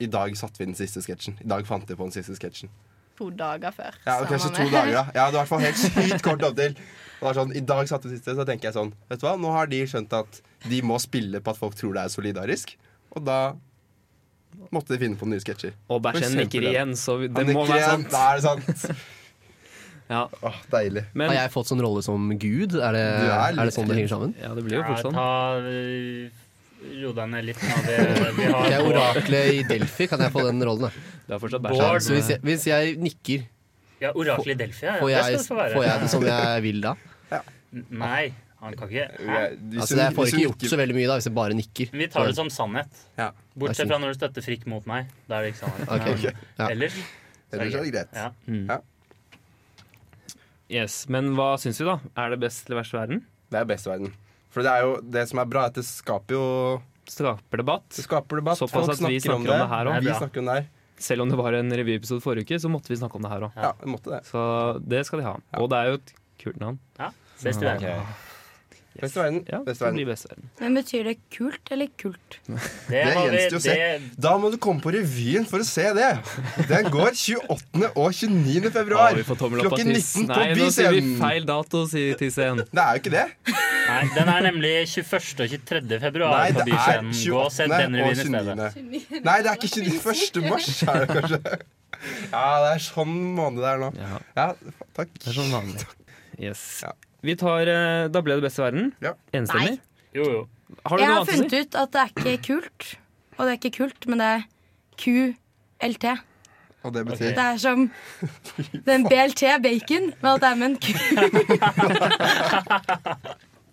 Speaker 4: I dag satte vi den siste sketsjen. I dag fant vi på den siste sketsjen.
Speaker 6: to dager før.
Speaker 4: Ja, ok, så
Speaker 6: sammen
Speaker 4: to
Speaker 6: med-
Speaker 4: dager, da. Ja, det var i hvert fall helt sykt kort opptil. Det var sånn, I dag satt det siste, så tenker jeg sånn Vet du hva, nå har de skjønt at de må spille på at folk tror det er solidarisk, og da måtte de finne på nye sketsjer.
Speaker 1: Og
Speaker 4: For
Speaker 1: bæsjen nikker
Speaker 4: eksempel, ja.
Speaker 1: igjen, så vi- det
Speaker 4: Han
Speaker 1: må
Speaker 4: nikker
Speaker 1: være
Speaker 4: igjen,
Speaker 1: sant.
Speaker 4: Da er det sant.
Speaker 1: Ja,
Speaker 4: Åh, deilig.
Speaker 1: men
Speaker 5: Har jeg fått sånn rolle som gud? Er
Speaker 4: Du
Speaker 5: det,
Speaker 4: er
Speaker 5: er
Speaker 4: litt
Speaker 5: det sånn det henger sammen?
Speaker 1: ja, det blir jo
Speaker 2: Ja,
Speaker 1: fort sånn.
Speaker 2: ta øh, Ro deg ned litt nå. Det, vi har
Speaker 5: Jeg er oraklet i Delphi. Kan jeg få den rollen? da?
Speaker 1: Det er fortsatt
Speaker 2: Bård.
Speaker 5: Så
Speaker 1: bæsjen.
Speaker 5: hvis jeg, hvis jeg nikker,
Speaker 2: Ja, Orakelet i Delphi, ja. ja,
Speaker 5: får
Speaker 2: Det skal
Speaker 5: jeg,
Speaker 2: det få være.
Speaker 5: får jeg det som jeg vil da?
Speaker 2: N- Nei, han kan ikke. Hæ?
Speaker 4: Jeg- hvis
Speaker 5: Altså,
Speaker 4: du-
Speaker 5: jeg får
Speaker 4: hvis du
Speaker 5: ikke gjort så veldig mye da hvis jeg bare nikker.
Speaker 2: Vi tar det som sannhet.
Speaker 4: Ja.
Speaker 5: Vær så
Speaker 2: Bortsett
Speaker 5: god.
Speaker 2: fra når du støtter frikk mot meg. Da er det ikke sannhet.
Speaker 5: Ok.
Speaker 2: Men
Speaker 5: Ja.
Speaker 2: Ellers
Speaker 4: Ellers er det greit.
Speaker 2: ja.
Speaker 1: Yes, men hva syns vi, da? Er det best eller verst i verden?
Speaker 4: Det er best i verden. For det er jo det som er bra, er at det skaper jo
Speaker 1: Skaper debatt.
Speaker 4: Det skaper debatt.
Speaker 1: Såpass
Speaker 4: Folk
Speaker 1: at vi snakker om det her også.
Speaker 4: Vi
Speaker 2: Det er bra.
Speaker 4: snakker om det her.
Speaker 1: Selv om det var en revyepisode forrige uke, så måtte vi snakke om det her òg.
Speaker 4: Ja, vi måtte det.
Speaker 1: Så det skal de ha. Og det er jo et kult navn.
Speaker 2: ja. Best i verden.
Speaker 4: Best i verden.
Speaker 1: Ja,
Speaker 4: Best i
Speaker 1: det
Speaker 4: verden.
Speaker 1: blir best i verden.
Speaker 3: Men betyr det kult eller kult?
Speaker 2: Det,
Speaker 4: Det
Speaker 2: har vi-
Speaker 4: gjenstår å se.
Speaker 2: det-
Speaker 4: Da må du komme på revyen for å se det. Den går 28. og 29.
Speaker 1: Har
Speaker 4: februar.
Speaker 1: vi fått tommel opp av
Speaker 4: Klokken
Speaker 1: Tiss?
Speaker 4: 19 på
Speaker 1: Nei, nå sier vi
Speaker 4: Byscenen.
Speaker 1: feil dato, sier Tissen.
Speaker 4: Det er jo ikke det.
Speaker 2: Nei, den er nemlig 21. og 23. februar
Speaker 4: Nei,
Speaker 2: på
Speaker 4: det er
Speaker 2: Byscenen. Gå og se
Speaker 4: 28.
Speaker 2: den
Speaker 4: og
Speaker 2: revyen i stedet.
Speaker 4: 29. Nei, det er ikke 21. mars, er det kanskje. Ja, det er sånn måned det er nå.
Speaker 1: Ja,
Speaker 4: Ja, takk.
Speaker 1: det er sånn vanlig. Yes.
Speaker 4: Ja.
Speaker 1: Vi tar eh, Da ble det best i verden.
Speaker 4: Ja.
Speaker 1: Enstemmig.
Speaker 2: Jo, jo.
Speaker 1: Har du
Speaker 3: Jeg
Speaker 1: noe
Speaker 3: har
Speaker 1: annet å
Speaker 3: funnet
Speaker 1: si?
Speaker 3: ut at det er ikke kult. Og det er ikke kult, men det er QLT.
Speaker 4: Og det betyr
Speaker 3: Det er som den BLT, bacon, men at det er med en ku.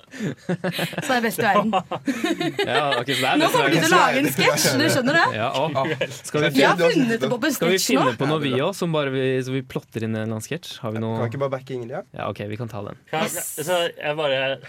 Speaker 3: Så det er best i verden.
Speaker 1: Ja, ok, så det er
Speaker 3: Nå
Speaker 1: best i
Speaker 3: kommer de
Speaker 1: verden.
Speaker 3: til å lage en sketsj, du skjønner det?
Speaker 1: Ja, å.
Speaker 4: Ah,
Speaker 1: Skal
Speaker 4: det
Speaker 1: vi
Speaker 4: er
Speaker 1: finne-
Speaker 3: Vi har
Speaker 4: fint, det var fint,
Speaker 3: funnet opp på en
Speaker 1: Skal vi
Speaker 3: sketsj nå.
Speaker 1: finne på noe, vi òg, som bare vi, så vi plotter inn en eller annen sketsj? Har vi
Speaker 4: Kan vi
Speaker 1: noe
Speaker 4: ikke bare backe Ingrid? Ja?
Speaker 1: Ja, OK, vi kan ta den.
Speaker 2: Kan, så jeg bare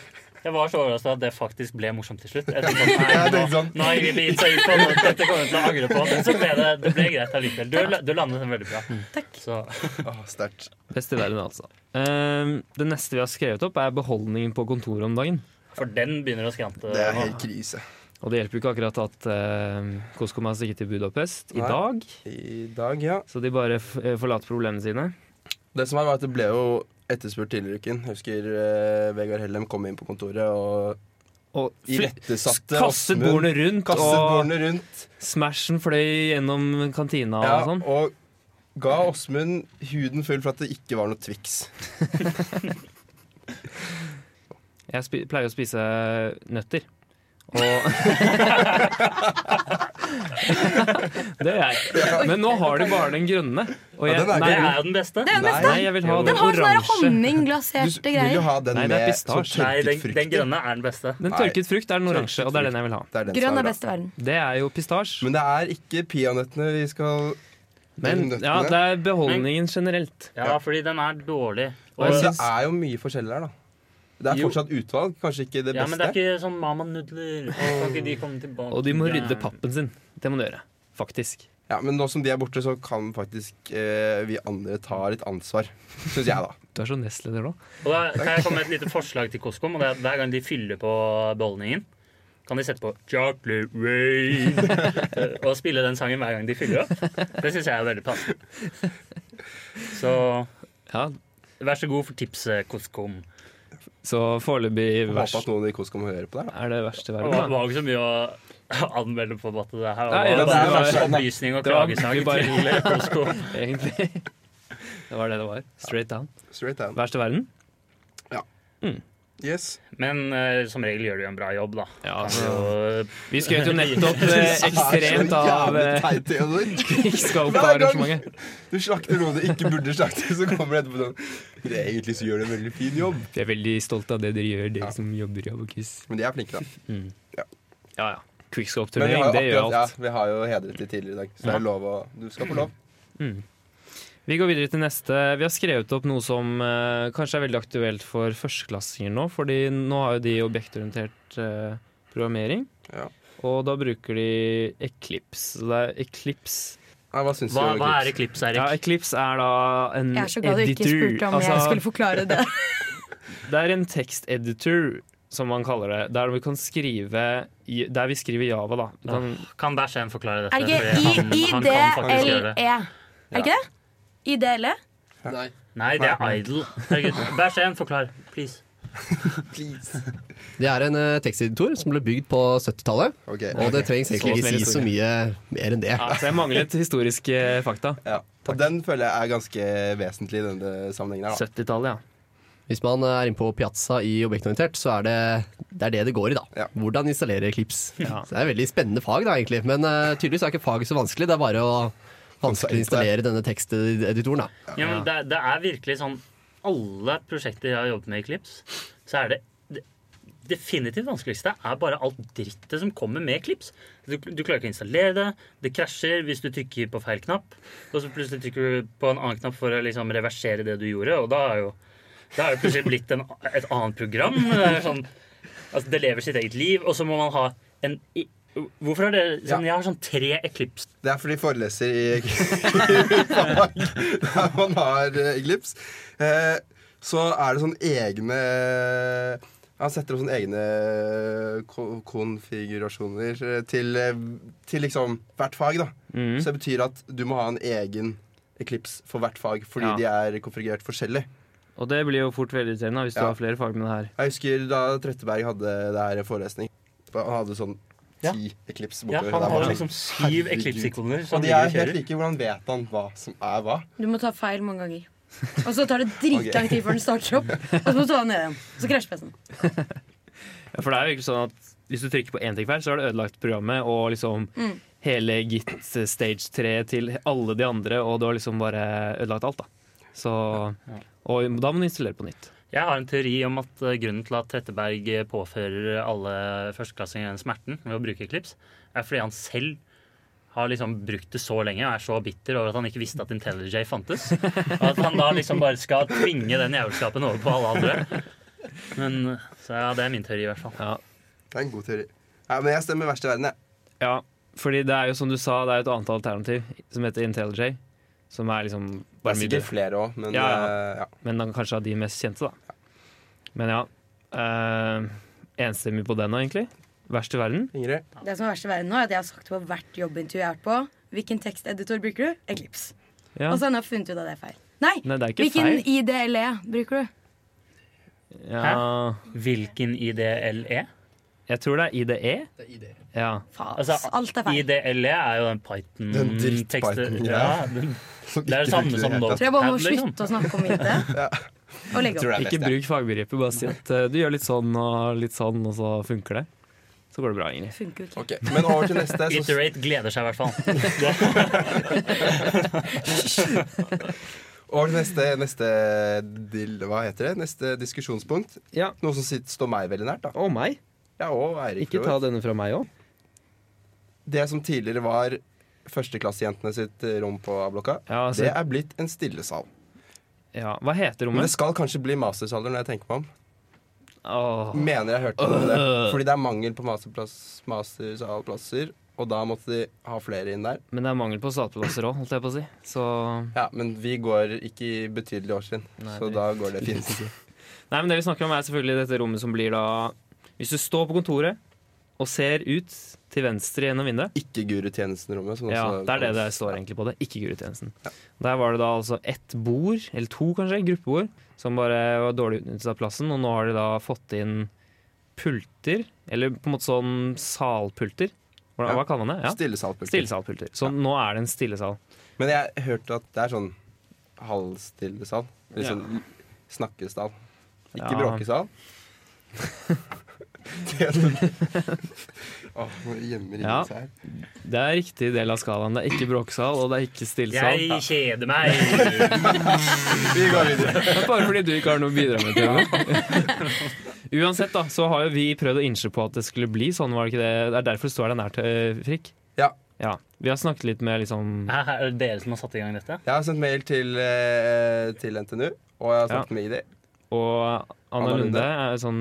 Speaker 2: jeg var så overraska at det faktisk ble morsomt til slutt. Jeg tenkte sånn, nei,
Speaker 4: Jeg tenkte
Speaker 2: nå,
Speaker 4: sånn.
Speaker 2: nå har Ingrid gitt seg ut på noe, dette kommer hun til å angre på. Men så ble det, det ble greit allikevel. Du, du landet den veldig bra.
Speaker 3: Mm.
Speaker 2: Så,
Speaker 4: Åh, Sterkt.
Speaker 1: Best i verden, altså. Ehm, det neste vi har skrevet opp, er beholdningen på kontoret om dagen.
Speaker 2: for den begynner å skrante.
Speaker 4: Det er helt krise.
Speaker 1: Og det hjelper jo ikke akkurat at ehm, Coscom har stikket til Budapest i
Speaker 4: Nei.
Speaker 1: dag.
Speaker 4: I dag, ja.
Speaker 1: Så de bare f eh, forlater problemene sine.
Speaker 4: Det som var, var at det ble jo etterspurt tidligere i uken. Jeg husker eh, Vegard Hellem kom inn på kontoret og
Speaker 1: Og fl-
Speaker 4: irettesatte
Speaker 1: kastet bordene rundt,
Speaker 4: Kastet
Speaker 1: og
Speaker 4: bordene rundt.
Speaker 1: smashen fløy gjennom kantina
Speaker 4: Ja,
Speaker 1: og sånn.
Speaker 4: og ga Åsmund huden full for at det ikke var noe Twix.
Speaker 1: Jeg spi pleier å spise nøtter. Og Det gjør jeg. Men nå har de bare den grønne. Og
Speaker 4: Ja,
Speaker 1: jeg,
Speaker 4: den er
Speaker 1: nei,
Speaker 2: Det er jo den beste.
Speaker 3: Det er jo
Speaker 4: Nei.
Speaker 3: mest
Speaker 1: nei, jeg vil ha
Speaker 3: Den
Speaker 1: den
Speaker 3: har sånn der
Speaker 1: oransje.
Speaker 3: honning,
Speaker 4: Du
Speaker 3: glaserte
Speaker 4: vil jo
Speaker 3: greier.
Speaker 4: ha den
Speaker 1: Nei, det er
Speaker 4: med sånn
Speaker 1: pistasje.
Speaker 2: Nei, den,
Speaker 4: tørket frukt.
Speaker 2: den grønne er den beste.
Speaker 1: Den
Speaker 4: Nei.
Speaker 1: tørket frukt er den oransje,
Speaker 4: Tørket
Speaker 1: og det er
Speaker 4: frukt.
Speaker 1: den jeg vil ha.
Speaker 4: Det er den som
Speaker 3: Grønn
Speaker 4: er
Speaker 3: er
Speaker 4: bra.
Speaker 3: best i verden.
Speaker 1: Det er jo pistasje.
Speaker 4: Men det er ikke peanøttene vi skal
Speaker 1: Men
Speaker 4: nøttene.
Speaker 1: ja, det er beholdningen generelt.
Speaker 2: Ja, fordi den er dårlig.
Speaker 4: Men
Speaker 2: Og,
Speaker 4: det er jo mye forskjell her, da. Det er
Speaker 2: Jo.
Speaker 4: fortsatt utvalg, kanskje ikke det
Speaker 2: ja, men det
Speaker 4: beste.
Speaker 2: er ikke sånn Mama-nudler. Kan ikke de komme tilbake?
Speaker 1: Og de må rydde pappen sin. Det må de gjøre. Faktisk.
Speaker 4: Ja, men nå som de er borte, så kan faktisk eh, vi andre ta litt ansvar. Syns jeg, da.
Speaker 1: Du er så nestleder nå.
Speaker 2: Og da kan jeg komme med et lite forslag til Coscom. Og det er at Hver gang de fyller på beholdningen, kan de sette på 'Chocolate Rain' eh, og spille den sangen hver gang de fyller opp. Det syns jeg er veldig passende. Så
Speaker 1: Ja,
Speaker 2: vær så god for tipset, Coscom.
Speaker 1: så foreløpig
Speaker 4: Håper
Speaker 1: verst
Speaker 4: at noen i KOS kommer høre på det. her,
Speaker 1: er det verste i
Speaker 2: Det var det
Speaker 1: verden. Da.
Speaker 2: var ikke så mye å anmelde på en måte. Det her
Speaker 1: Nei,
Speaker 2: var
Speaker 1: det er
Speaker 2: bare
Speaker 4: verst.
Speaker 2: opplysning og
Speaker 1: Det var-
Speaker 2: klagesang
Speaker 1: vi bare-
Speaker 2: til Coscom.
Speaker 1: Egentlig. Det var det det var. Straight down.
Speaker 4: da. Straight down.
Speaker 1: Verst i verden?
Speaker 4: Yes.
Speaker 2: Men eh, som regel gjør de jo en bra jobb, da.
Speaker 1: Ja, altså.
Speaker 2: Kan jo-
Speaker 1: Vi skrøt jo nettopp eh, ekstremt av
Speaker 4: Jævlig
Speaker 1: eh,
Speaker 4: teit, Theodor.
Speaker 1: Kickscope-arrangementet.
Speaker 4: Du slakter noe du ikke burde slakte, så kommer du etterpå sånn Det egentlig så gjør du en veldig fin jobb.
Speaker 1: Vi er veldig stolte av det dere gjør, dere
Speaker 4: Ja.
Speaker 1: som jobber i Abokus.
Speaker 4: Men de er flinke, da.
Speaker 1: Ja, ja.
Speaker 4: Men vi
Speaker 1: Quickscope-turnering,
Speaker 4: har
Speaker 1: det
Speaker 4: jo,
Speaker 1: gjør
Speaker 4: akkurat,
Speaker 1: alt.
Speaker 4: ja, vi har jo hedret de tidligere i dag, så det er lov å Du skal få lov.
Speaker 1: Mm. Vi går videre til neste. Vi har skrevet opp noe som eh, kanskje er veldig aktuelt for førsteklassinger nå, fordi nå har jo de objektorientert eh, programmering,
Speaker 4: Ja.
Speaker 1: og da bruker de Eclipse. Så det er Eclipse.
Speaker 4: Nei, hva syns du
Speaker 2: Hva,
Speaker 4: om
Speaker 2: hva er
Speaker 4: Eclipse?
Speaker 2: Eclipse,
Speaker 1: Ja,
Speaker 2: Erik?
Speaker 1: Eclipse er da en
Speaker 3: Jeg er så glad du ikke
Speaker 1: editor.
Speaker 3: spurte om jeg
Speaker 1: Altså,
Speaker 3: skulle forklare det.
Speaker 1: Det er en teksteditor, som man kaller det, der vi kan skrive i- Der vi skriver Java, da. Du kan,
Speaker 2: Kan Bæsjen forklare dette?
Speaker 3: Er det
Speaker 2: Fordi
Speaker 3: ikke
Speaker 2: han- han kan faktisk gjøre det.
Speaker 3: IIDLE? Er E? det ikke det? i E? DLE?
Speaker 5: Nei.
Speaker 2: Nei, det er Idol. Herregud. Vær sen, forklar. Please.
Speaker 5: Det er en eh, teksteditor som ble bygd på 70-tallet.
Speaker 4: Ok.
Speaker 5: Og det trengs
Speaker 1: Så
Speaker 5: egentlig ikke si så
Speaker 1: snill
Speaker 5: mye mer enn det.
Speaker 1: Ja, så altså, jeg manglet historiske fakta.
Speaker 4: Ja. Og den føler jeg er ganske vesentlig i denne sammenhengen. her da.
Speaker 1: 70-tallet, ja.
Speaker 5: Hvis man eh, er inne på Piazza i Objektorientert, så er det det er det det går i, da.
Speaker 4: Ja.
Speaker 5: Hvordan installere klips.
Speaker 1: Ja.
Speaker 5: Så det er et veldig spennende fag, da, egentlig. Men eh, tydeligvis er ikke faget så vanskelig. Det er bare å vanskelig å installere denne teksteditoren, da.
Speaker 2: Ja, men det, det er virkelig sånn Alle prosjekter jeg har jobbet med i Clips, så er det det definitivt vanskeligste er bare alt drittet som kommer med Clips. Du, du klarer ikke å installere det, det krasjer hvis du trykker på feil knapp, og så plutselig trykker du på en annen knapp for å liksom reversere det du gjorde, og da er jo det er jo plutselig blitt en, et annet program. Det, er sånn, altså det lever sitt eget liv, og så må man ha en i- Hvorfor har dere sånn, Jeg har sånn tre Eclipse
Speaker 4: Det er fordi foreleser i fag der man har eh, glips, eh, så er det sånne egne Han setter opp sånne egne eh, ko- konfigurasjoner eh, til, eh, til liksom hvert fag, da.
Speaker 1: Mm.
Speaker 4: Så det betyr at du må ha en egen Eclipse for hvert fag, fordi
Speaker 1: Ja.
Speaker 4: de er konfigurert forskjellig.
Speaker 1: Og det blir jo fort veldig irriterende hvis du
Speaker 4: Ja.
Speaker 1: har flere fag med det her.
Speaker 4: Jeg husker da Tretteberg hadde det her i forelesning. Han hadde sånn
Speaker 2: Ja.
Speaker 4: ti Eclipse
Speaker 2: Ja,
Speaker 4: bortover.
Speaker 2: han
Speaker 4: Det er
Speaker 2: har
Speaker 4: bare
Speaker 2: liksom sånn
Speaker 4: sånn,
Speaker 2: syv
Speaker 4: herregud.
Speaker 2: Eclipse-ikoner. som
Speaker 4: Og de
Speaker 2: ligger
Speaker 4: er
Speaker 2: og
Speaker 4: helt
Speaker 2: kjører.
Speaker 4: like. Hvordan vet han hva som er hva?
Speaker 3: Du må ta feil mange ganger. Og så tar det dritlang tid før den starter opp. Og så må du ta den ned igjen. Så krasjer PC-en.
Speaker 1: Ja, For det er jo ikke sånn at hvis du trykker på én ting feil, så har du ødelagt programmet og liksom
Speaker 4: Mm.
Speaker 1: hele Git eh, stage 3 til alle de andre, og du har liksom bare ødelagt alt, da. Så Og da må du installere på nytt.
Speaker 2: Jeg har en teori om at eh, grunnen til at Tretteberg eh, påfører alle førsteklassinger den smerten ved å bruke klips, er fordi han selv har liksom brukt det så lenge og er så bitter over at han ikke visste at IntelliJ fantes. Og at han da liksom bare skal tvinge den jævelskapen over på alle andre. Men, så ja, Det er min teori, i hvert fall.
Speaker 1: Ja.
Speaker 4: Det er en god teori. Ja, men jeg stemmer verst i verden, jeg.
Speaker 1: ja. Fordi det er jo som du sa, det er jo et annet alternativ som heter IntelliJ. Som er liksom
Speaker 4: Det
Speaker 1: bare
Speaker 4: er
Speaker 1: mye
Speaker 4: sikkert
Speaker 1: bedre.
Speaker 4: flere òg, men
Speaker 1: Ja,
Speaker 4: eh, ja.
Speaker 1: Men han kanskje av de mest kjente, da. Men ja. eh, enstemmig på den nå, egentlig. Verst i verden.
Speaker 4: Ingrid?
Speaker 3: Det som er verst i verden nå, er at jeg har sagt på hvert jobbintervju jeg har vært på, hvilken teksteditor bruker du? Eclipse.
Speaker 1: Ja.
Speaker 3: Og
Speaker 4: Altså,
Speaker 3: så har jeg nå funnet ut at det er feil. Nei!
Speaker 1: Nei, det er ikke
Speaker 3: Hvilken
Speaker 1: feil.
Speaker 3: IDLE E bruker du?
Speaker 1: Ja,
Speaker 2: Hvilken IDLE?
Speaker 1: jeg tror det er E. IDE. Ja.
Speaker 3: Faen,
Speaker 2: Altså,
Speaker 3: alt er feil.
Speaker 2: IDLE E er jo den
Speaker 4: Den
Speaker 2: Python-teksten.
Speaker 4: dritt-Python-greia.
Speaker 2: Ja, den- det er det samme som
Speaker 1: E
Speaker 2: liksom. nå.
Speaker 3: Tror jeg bare må
Speaker 1: liksom.
Speaker 3: slutte å snakke om IT. E. Og legge opp.
Speaker 4: Tror jeg vet
Speaker 1: Ikke
Speaker 4: det.
Speaker 1: bruk fagbegrepet, bare si at eh, du gjør litt sånn og litt sånn, og så funker det. Så går det bra, Ingrid.
Speaker 3: Funker jo ikke.
Speaker 4: Ok, Men over til neste. Så,
Speaker 2: Iterate gleder seg i hvert fall.
Speaker 4: over til neste, neste dil, Hva heter det? Neste diskusjonspunkt.
Speaker 1: Ja.
Speaker 4: Noe som sitter, står meg veldig nært. da
Speaker 1: Og meg.
Speaker 4: Ja, og Eirik.
Speaker 1: Ikke
Speaker 4: for så
Speaker 1: ta
Speaker 4: vidt.
Speaker 1: denne fra meg òg.
Speaker 4: Det som tidligere var førsteklassejentene sitt eh, rom på A-blokka,
Speaker 1: Ja, altså-
Speaker 4: det er blitt en stillesal.
Speaker 1: Ja. Hva heter
Speaker 4: Men det
Speaker 1: rommet?
Speaker 4: skal kanskje bli mastersalder når jeg tenker meg om.
Speaker 1: Åh.
Speaker 4: Mener jeg hørte noe om det. Fordi det er mangel på masterplass, mastersalplasser, og da måtte de ha flere inn der.
Speaker 1: Men det er mangel på statplasser òg, holdt jeg på å si. Så
Speaker 4: Ja, men vi går ikke i betydelig årstrinn,
Speaker 1: Nei,
Speaker 4: så
Speaker 1: det-
Speaker 4: da går det fint.
Speaker 1: Nei, men det vi snakker om er selvfølgelig dette rommet som blir da Hvis du står på kontoret og ser ut til venstre gjennom vinduet
Speaker 4: Ikke Gurutjenesten-rommet. som
Speaker 1: Ja,
Speaker 4: også
Speaker 1: det er det det
Speaker 4: kalles.
Speaker 1: står egentlig på det, ikke gurutjenesten. Der var det da altså ett bord, eller to kanskje, gruppebord, som bare var dårlig utnyttet av plassen, og nå har de da fått inn pulter, eller på en måte sånn salpulter. Hvordan,
Speaker 4: Ja.
Speaker 1: Hva kaller man det? Ja.
Speaker 4: Stillesalpulter.
Speaker 1: Stillesalpulter. Så nå er det en stillesal.
Speaker 4: Men jeg hørte at det er sånn halvstillesal. Litt sånn snakkesal. Ikke
Speaker 1: Ja.
Speaker 4: bråkesal. det er sånn Åh, nå gjemmer ingen
Speaker 1: Ja.
Speaker 4: seg her.
Speaker 1: Det er riktig del av skalaen. Det er ikke bråksal, og det er ikke stillesal.
Speaker 2: Jeg kjeder meg.
Speaker 4: Vi går videre.
Speaker 1: Det er bare fordi du ikke har noe å bidra med til det. Uansett da, så har jo vi prøvd å innse på at det skulle bli sånn, var det ikke det? Det er derfor det står deg nært, eh, Frikk.
Speaker 4: Ja.
Speaker 1: Ja, vi har snakket litt med liksom
Speaker 2: Hæ, hæ, Er det dere som har satt i gang dette?
Speaker 4: Jeg har sendt mail til, eh, til NTNU, og jeg har snakket med ID.
Speaker 1: Og Anna
Speaker 4: Anna Lunde.
Speaker 1: Lunde er jo sånn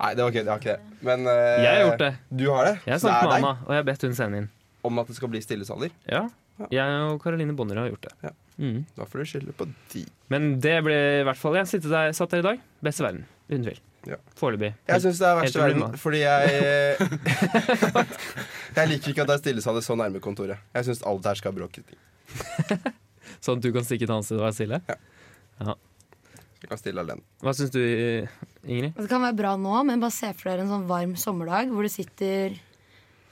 Speaker 4: Nei, det var kødd. Jeg har ikke det. Men eh,
Speaker 1: Jeg har gjort det.
Speaker 4: Du har det?
Speaker 1: Jeg har
Speaker 4: Så det er
Speaker 1: snakket med
Speaker 4: deg
Speaker 1: Anna, og jeg har bedt hun sende inn.
Speaker 4: Om at det skal bli stillesaler?
Speaker 1: Ja. Jeg og Karoline Bonnerud har gjort
Speaker 4: Ja.
Speaker 1: det. Mm.
Speaker 4: Da får du skylde på de.
Speaker 1: Men det ble i hvert fall Jeg sitter der, satt der i dag. Best i verden. Uten tvil.
Speaker 4: Ja.
Speaker 1: Foreløpig.
Speaker 4: Jeg syns det er verst i
Speaker 1: Helt til
Speaker 4: verden,
Speaker 1: Brunna.
Speaker 4: fordi jeg eh, Jeg liker ikke at det er stillesaler så nærme kontoret. Jeg syns alt her skal ha bråketing.
Speaker 1: Sånn at du kan stikke et annet sted og være stille?
Speaker 4: Du kan stille alene.
Speaker 1: Hva syns du, eh, Ingrid?
Speaker 3: Og Det kan være bra nå, men bare se for dere en sånn varm sommerdag hvor det sitter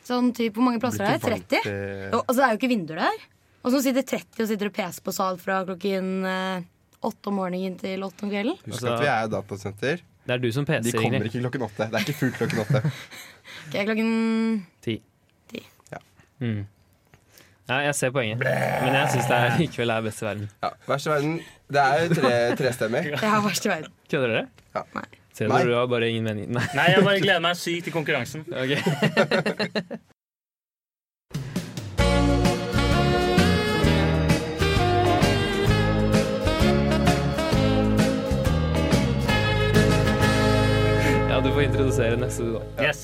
Speaker 3: sånn typ, Hvor mange plasser er det? 30?
Speaker 4: eh,
Speaker 3: Og, altså, det er jo ikke vinduer der. Og så sitter 30 og sitter og peser på sal fra klokken eh, åtte om morgenen til åtte om kvelden.
Speaker 4: Husk
Speaker 1: Altså-
Speaker 4: at vi er et datasenter.
Speaker 1: Det er du som
Speaker 4: De
Speaker 1: peser,
Speaker 4: kommer
Speaker 1: Ingrid.
Speaker 4: ikke klokken åtte. Det er ikke fullt klokken åtte.
Speaker 3: Ok, klokken
Speaker 1: Ti.
Speaker 3: Ti.
Speaker 4: Ja.
Speaker 1: Mm. Ja, jeg ser poenget, men jeg syns det er likevel er best i verden.
Speaker 4: Ja, Verst i verden. Det er jo tre, trestemmig.
Speaker 3: Det er verst i verden.
Speaker 1: Kødder dere?
Speaker 4: Ja.
Speaker 3: Nei.
Speaker 1: Ser
Speaker 4: Nei.
Speaker 1: dere, du har bare ingen mening. Nei.
Speaker 2: Nei, jeg bare gleder meg sykt til konkurransen.
Speaker 1: Ok. Ja, du får introdusere neste, du, da.
Speaker 2: Yes.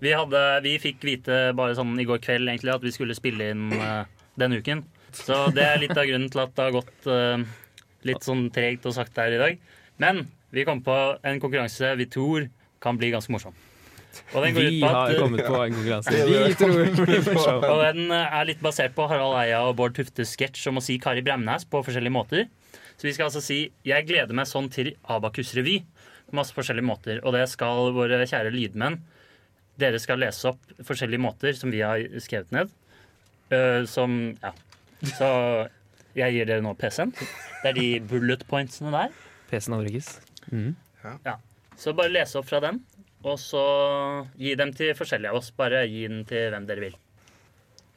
Speaker 2: Vi, hadde, vi fikk vite bare sånn i går kveld egentlig at vi skulle spille inn eh, denne uken. Så det er litt av grunnen til at det har gått eh, litt sånn tregt og sakte her i dag. Men vi kom på en konkurranse vi tror kan bli ganske morsom. Og den går
Speaker 1: Vi
Speaker 2: ut på
Speaker 1: har
Speaker 2: at
Speaker 1: kommet på en konkurranse.
Speaker 4: Ja.
Speaker 1: Vi tror det blir morsomt.
Speaker 2: Og den eh, er litt basert på Harald Eia og Bård Tuftes sketsj om å si Kari Bremnes på forskjellige måter. Så vi skal altså si 'Jeg gleder meg sånn til Abakus revy' på masse forskjellige måter. Og det skal våre kjære lydmenn Dere skal lese opp forskjellige måter som vi har skrevet ned. Eh, som Ja. Så jeg gir dere nå PC-en. Det er de bullet pointsene der.
Speaker 1: PC-en avrykkes.
Speaker 2: Så bare lese opp fra den, og så gi dem til forskjellige av oss. Bare gi den til hvem dere vil.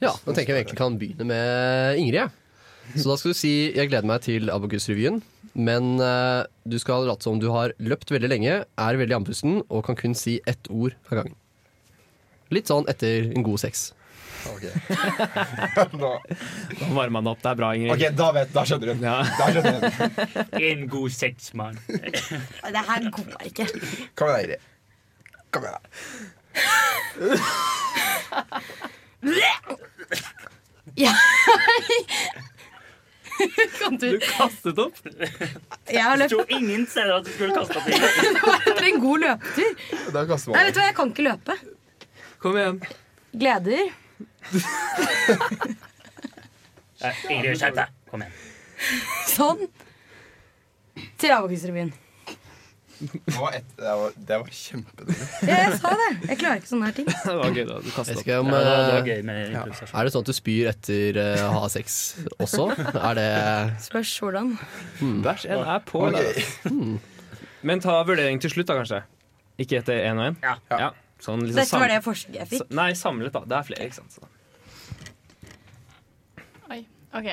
Speaker 5: Ja, Da tenker jeg vi egentlig kan begynne med Ingrid. jeg. Så da skal du si 'Jeg gleder meg til Abokus-revyen', men eh, du skal late som du har løpt veldig lenge, er veldig andpusten og kan kun si ett ord av gangen. Litt sånn etter en god sex.
Speaker 4: Ok, Nå.
Speaker 1: Nå varmer han opp. Det er bra, Ingrid.
Speaker 4: Ok, da vet Da skjønner hun.
Speaker 1: Ja.
Speaker 4: Da skjønner hun.
Speaker 2: En god sex, mann.
Speaker 3: Nei, Det her går ikke.
Speaker 4: Kom igjen, Ingrid. Kom igjen, da.
Speaker 3: Kan du
Speaker 1: Du kastet opp.
Speaker 3: Jeg har
Speaker 2: Jeg
Speaker 3: løpt
Speaker 2: tror ingen ser at du skulle kaste opp i
Speaker 3: etter en god løpetur.
Speaker 4: Da kaster
Speaker 3: Nei,
Speaker 4: man
Speaker 3: vet du hva, jeg kan ikke løpe.
Speaker 1: Kom igjen.
Speaker 3: Gleder.
Speaker 2: Nei, Ingrid, skjerp deg. Kom igjen.
Speaker 3: Sånn. Til Abakus-revyen.
Speaker 4: Det var, et, det var, det var kjempedårlig.
Speaker 3: Ja, jeg sa det. Jeg klarer ikke sånne her ting.
Speaker 1: Det var gøy, da. Du kastet
Speaker 5: Jeg
Speaker 1: opp.
Speaker 5: skal, om,
Speaker 2: Ja, det, var, det var
Speaker 5: eh,
Speaker 2: gøy med improvisasjon.
Speaker 5: er det sånn at du spyr etter eh, å ha sex også? Er det
Speaker 3: Spørs hvordan.
Speaker 1: Bæsj en er på.
Speaker 4: Ok.
Speaker 1: Da. Men ta vurdering til slutt, da, kanskje. Ikke etter én og én?
Speaker 2: Ja.
Speaker 1: Ja. Sånn, liksom,
Speaker 3: Dette var
Speaker 1: sam-
Speaker 3: det forsøket jeg fikk.
Speaker 1: sa- Nei, samlet, da. Det er flere, ikke sant. Så.
Speaker 6: Oi, OK.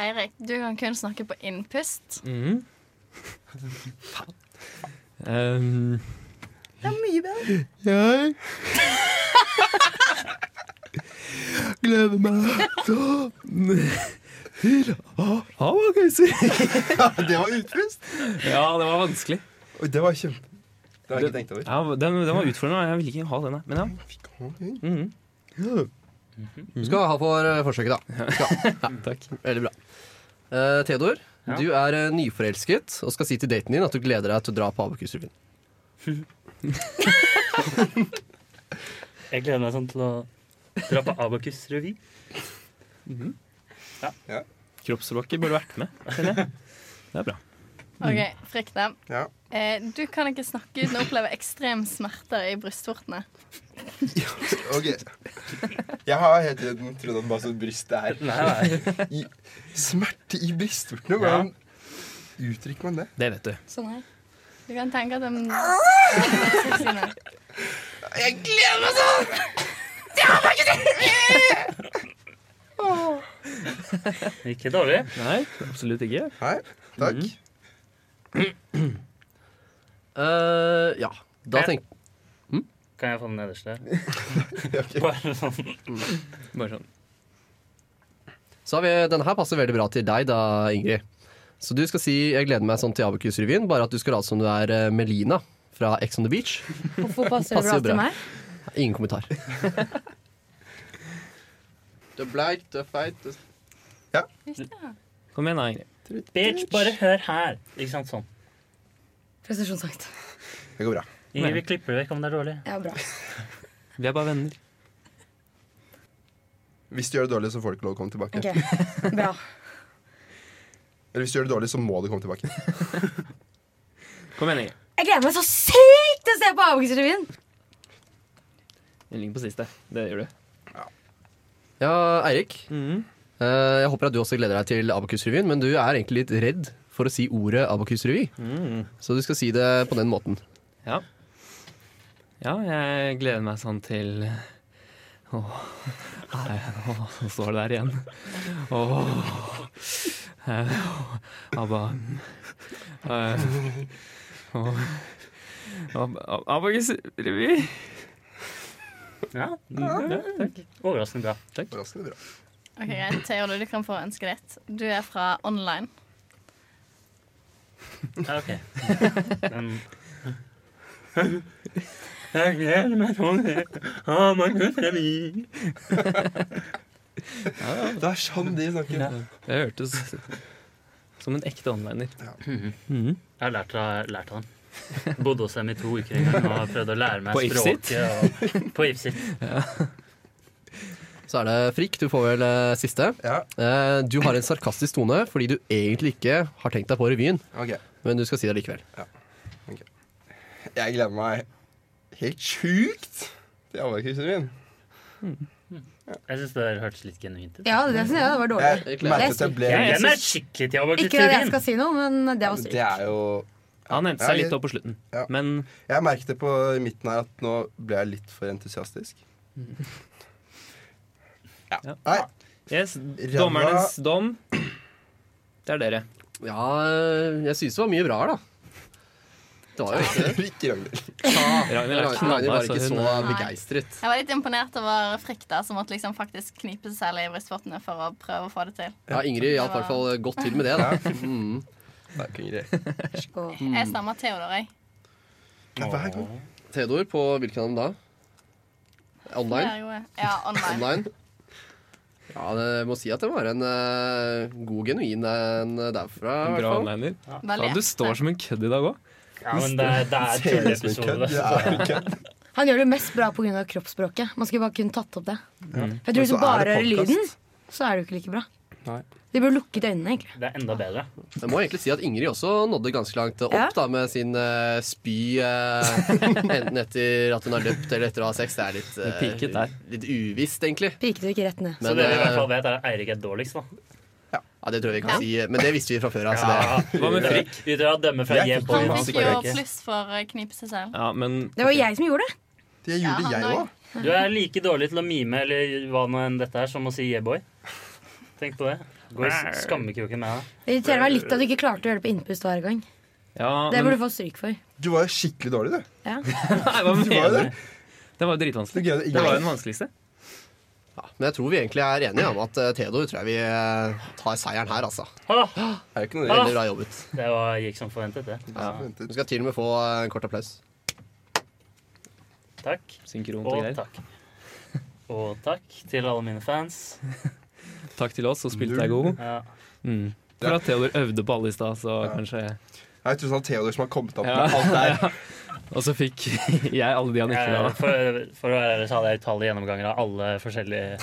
Speaker 6: Eirik, du kan kun snakke på innpust.
Speaker 4: Mm.
Speaker 1: Mhm. Ehm,
Speaker 3: Det er mye bedre.
Speaker 5: Jeg gleder meg
Speaker 1: ha, hva kan vi si?
Speaker 4: Det var utpust.
Speaker 1: ja, det var vanskelig.
Speaker 4: Oi, Det var kjempe... Det har jeg ikke tenkt over.
Speaker 1: Ja, den, den var utfordrende. og Jeg ville ikke ha den, jeg. men ja. Mhm.
Speaker 5: Du skal ha for eh, forsøket, da.
Speaker 1: Takk.
Speaker 5: Veldig bra. Eh, Theodor,
Speaker 2: Ja.
Speaker 5: du er eh, nyforelsket og skal si til daten din at du gleder deg til å dra på Abokus-revyen.
Speaker 2: Jeg gleder meg sånn til å dra på Abakus revy.
Speaker 1: Kroppsspråket burde vært med. skjønner jeg. Det er bra.
Speaker 6: OK, Frikta.
Speaker 4: Mm. Ja.
Speaker 6: Eh, du kan ikke snakke uten å oppleve ekstrem smerter i brystvortene.
Speaker 4: Ok. Jeg har helt tiden trodd at bare sånn brystet er
Speaker 2: Nei, nei.
Speaker 4: i, Smerte i brystvortene? Hvordan uttrykker man det?
Speaker 1: Det vet du.
Speaker 3: Sånn her.
Speaker 6: Du kan tenke at den
Speaker 4: Jeg gleder meg sånn!
Speaker 2: Ikke dårlig.
Speaker 1: Nei, absolutt ikke.
Speaker 4: Hei, takk.
Speaker 5: Eh, ja. Da
Speaker 2: Ja.
Speaker 5: tenk
Speaker 2: Kan jeg få den nederste? Bare sånn.
Speaker 1: Bare sånn.
Speaker 5: Så har vi, denne her passer veldig bra til deg da, Ingrid. Så du skal si 'Jeg gleder meg sånn til Abakus-revyen', bare at du skal late som du er eh, Melina fra Ex on the Beach.
Speaker 3: Hvorfor passer det bra
Speaker 5: Passer jo bra.
Speaker 3: til meg?
Speaker 5: Ingen kommentar.
Speaker 1: Kom igjen, da, Ingrid.
Speaker 2: Bitch, bare hør her. Ikke sant, sånn.
Speaker 3: Presisjonsakt.
Speaker 4: Det går bra.
Speaker 2: Ingrid, vi klipper det vekk om det er dårlig.
Speaker 3: Ja, bra.
Speaker 1: Vi er bare venner.
Speaker 4: Hvis du gjør det dårlig, så får du ikke lov å komme tilbake.
Speaker 3: Ok, Bra.
Speaker 4: Eller hvis du gjør det dårlig, så må du komme tilbake.
Speaker 1: Kom igjen, Inge.
Speaker 3: Jeg gleder meg så sykt til å se på Avgangsrevyen!
Speaker 1: Den ligger på siste. Det gjør du.
Speaker 5: Ja, Eirik. eh, jeg håper at du også gleder deg til Abakus-revyen, men du er egentlig litt redd for å si ordet Abakus-revy. Så du skal si det på den måten.
Speaker 1: Ja. ja, jeg gleder meg sånn til Åh, nei, åh, nå står det der igjen. Åh. Eh, åh, Abba Eh, åh. Abba- Abba- Abakus revy.
Speaker 2: Mm, Ja,
Speaker 1: Ja, takk.
Speaker 2: Overraskende bra.
Speaker 4: Overraskende bra.
Speaker 6: Ok, greit. Theodor, du kan få ønsket ditt. Du er fra online.
Speaker 2: Ja, ok. Men jeg gleder meg sånn til Abakus revy.
Speaker 4: Det er sånn de snakker.
Speaker 1: Det hørtes som en ekte onliner. Mhm.
Speaker 2: Jeg har lært av, lært av den. Bodde hos dem i to uker en gang og prøvde å lære meg
Speaker 1: På Ipsit?
Speaker 2: språket. Og, på Ipsit.
Speaker 5: Så er det Frikk, du får vel eh, siste.
Speaker 4: Ja,
Speaker 5: Eh, du har en sarkastisk tone fordi du egentlig ikke har tenkt deg på revyen,
Speaker 4: ok.
Speaker 5: men du skal si det likevel.
Speaker 4: Jeg gleder meg helt sjukt til Abakus-revyen.
Speaker 2: Jeg syns det der hørtes litt genuint ut.
Speaker 3: Ja, det synes jeg det var dårlig.
Speaker 4: Jeg merket at jeg ble
Speaker 2: Jeg gleder meg
Speaker 1: synes-
Speaker 2: skikkelig til
Speaker 3: Ikke at jeg
Speaker 2: Abakus-revyen.
Speaker 3: skal si noe, men det var
Speaker 4: Det
Speaker 3: stygt.
Speaker 4: er jo
Speaker 1: Han hentet seg litt opp på slutten,
Speaker 4: Ja.
Speaker 1: men
Speaker 4: Jeg merket det på i midten her at nå ble jeg litt for entusiastisk. Ja.
Speaker 1: Ja.
Speaker 4: Nei,
Speaker 1: yes, dommernes dom, det er dere.
Speaker 5: Ja, eh, jeg synes det var mye bra her, da. Det var jo ikke
Speaker 4: ikke Ragnhild.
Speaker 1: Ragnhild er knallhard,
Speaker 5: Ragnhild var ikke
Speaker 1: så altså, hun-
Speaker 5: så begeistret.
Speaker 6: Jeg var litt imponert over Frikk, da, som måtte liksom faktisk knipe seg selv i brystvortene for å prøve å få det til.
Speaker 5: Ja, Ingrid hjalp i hvert fall godt til med det. da mm.
Speaker 4: Nei, ikke Ingrid.
Speaker 3: Og
Speaker 4: Mm.
Speaker 6: Jeg stemmer Theodor, jeg.
Speaker 4: Nei, hver gang.
Speaker 5: Theodor på hvilken av dem da?
Speaker 6: Det
Speaker 5: Online?
Speaker 6: er jo- Ja, online.
Speaker 5: Online? Ja, det- jeg må si at det var en eh, god, genuin en eh, derfra. i
Speaker 1: En
Speaker 5: hvert
Speaker 1: bra
Speaker 5: fall.
Speaker 1: onliner.
Speaker 6: Veldig
Speaker 1: Ja, du står som en kødd i dag òg.
Speaker 2: Ja, men det, er- det er
Speaker 4: Ser ut som en
Speaker 2: tulleepisode.
Speaker 4: kødd.
Speaker 2: det.
Speaker 4: Ja, er det kødd?
Speaker 3: han gjør det mest bra pga. kroppsspråket. Man skulle bare kunne tatt opp det. For Jeg tror
Speaker 4: Mm. Men så
Speaker 3: Hvis du bare
Speaker 4: er det
Speaker 3: hører
Speaker 4: podcast.
Speaker 3: lyden, så er det jo ikke like bra.
Speaker 4: Nei.
Speaker 3: De burde lukket øynene, egentlig.
Speaker 2: Det er enda bedre.
Speaker 5: Jeg må egentlig si at Ingrid også nådde ganske langt opp
Speaker 3: Ja.
Speaker 5: da med sin eh, spy eh, enten etter at hun har løpt eller etter å ha sex. Det er litt, eh,
Speaker 1: Det piket der.
Speaker 5: litt uvisst, egentlig.
Speaker 3: Piket du ikke rett ned.
Speaker 2: Så
Speaker 5: Men,
Speaker 2: det vi i hvert
Speaker 5: eh,
Speaker 2: fall vet, er at Eirik er dårligst, da.
Speaker 5: ja, det tror jeg vi kan si. Men det visste vi fra før. Altså, det.
Speaker 1: Hva med Frikk?
Speaker 2: Vi drar og dømmer fra
Speaker 4: Jeg
Speaker 2: J
Speaker 4: fikk
Speaker 2: på
Speaker 4: den.
Speaker 6: Han
Speaker 2: hans
Speaker 6: fikk jo
Speaker 4: Ikke.
Speaker 6: pluss for å knipe seg selv.
Speaker 1: Ja, men
Speaker 3: Det var jo jeg som gjorde det.
Speaker 4: Det
Speaker 6: Ja,
Speaker 4: gjorde
Speaker 6: han
Speaker 4: jeg
Speaker 6: er-
Speaker 4: òg.
Speaker 2: Du er like dårlig til å mime eller hva nå enn dette er, som å si yeah-boy. Tenk på det. Går i skammekroken med deg.
Speaker 3: Det irriterer meg litt at du ikke klarte å gjøre det på innpust hver gang.
Speaker 1: ja,
Speaker 3: Det
Speaker 1: men,
Speaker 3: burde du få stryk for.
Speaker 4: Du var jo skikkelig dårlig, du.
Speaker 3: Ja.
Speaker 1: Nei, hva
Speaker 4: Du var jo
Speaker 1: mener
Speaker 4: det.
Speaker 1: du? Det var jo
Speaker 4: Du
Speaker 1: dritvanskelig.
Speaker 4: greide
Speaker 1: Det var jo
Speaker 4: ingenting.
Speaker 1: den vanskeligste.
Speaker 5: Ja, men jeg tror vi egentlig er enige om at eh, Theodor tror jeg vi eh, tar seieren her, altså.
Speaker 2: Ah,
Speaker 4: Det er jo ikke noe
Speaker 5: Veldig bra jobbet.
Speaker 2: det var, gikk som forventet, det.
Speaker 5: Du
Speaker 4: redd.
Speaker 5: skal til og med få eh, en kort applaus.
Speaker 2: Takk.
Speaker 1: Synkront og
Speaker 2: Og
Speaker 1: greier.
Speaker 2: takk. Og takk til alle mine fans.
Speaker 1: Takk til oss, og spilte deg god.
Speaker 2: Ja.
Speaker 1: Mm. For at Theodor øvde på alle i stad, så kanskje
Speaker 4: Det er tross alt sånn Theodor som har kommet opp
Speaker 1: Ja.
Speaker 4: med alt der.
Speaker 1: Og så fikk jeg alle de han ikke ville
Speaker 2: Jeg,
Speaker 1: ha.
Speaker 2: for, for å være ærlig så hadde jeg utallige gjennomganger av alle forskjellige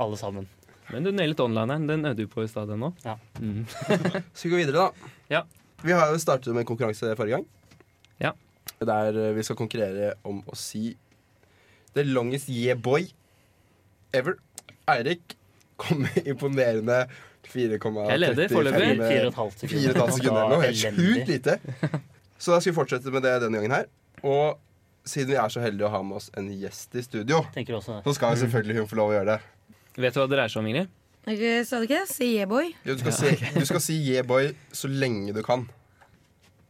Speaker 2: alle sammen.
Speaker 1: Men du nailet onlineren. Den øvde du på i stad ennå.
Speaker 2: Ja.
Speaker 1: Mm.
Speaker 4: Skal vi gå videre, da?
Speaker 1: Ja.
Speaker 4: Vi har jo startet med en konkurranse forrige gang.
Speaker 1: Ja.
Speaker 4: Der eh, vi skal konkurrere om å si the longest yeah boy ever. Eirik kom med imponerende 4,35
Speaker 1: Jeg leder foreløpig.
Speaker 4: med
Speaker 2: Fire og et halvt sekunder.
Speaker 4: 4,5 sekunder eller noe. Helt
Speaker 2: Elendig.
Speaker 4: sjukt lite. Så da skal vi fortsette med det denne gangen her. Og siden vi er så heldige å ha med oss en gjest i studio,
Speaker 2: Tenker også det.
Speaker 4: så skal
Speaker 1: Mm.
Speaker 4: jo selvfølgelig hun få lov å gjøre det.
Speaker 1: Vet du hva det dreier seg om, Ingrid?
Speaker 3: Ikke- Sa du ikke det? Si yeah, boy.
Speaker 4: Du skal, si, du skal si yeah boy så lenge du kan.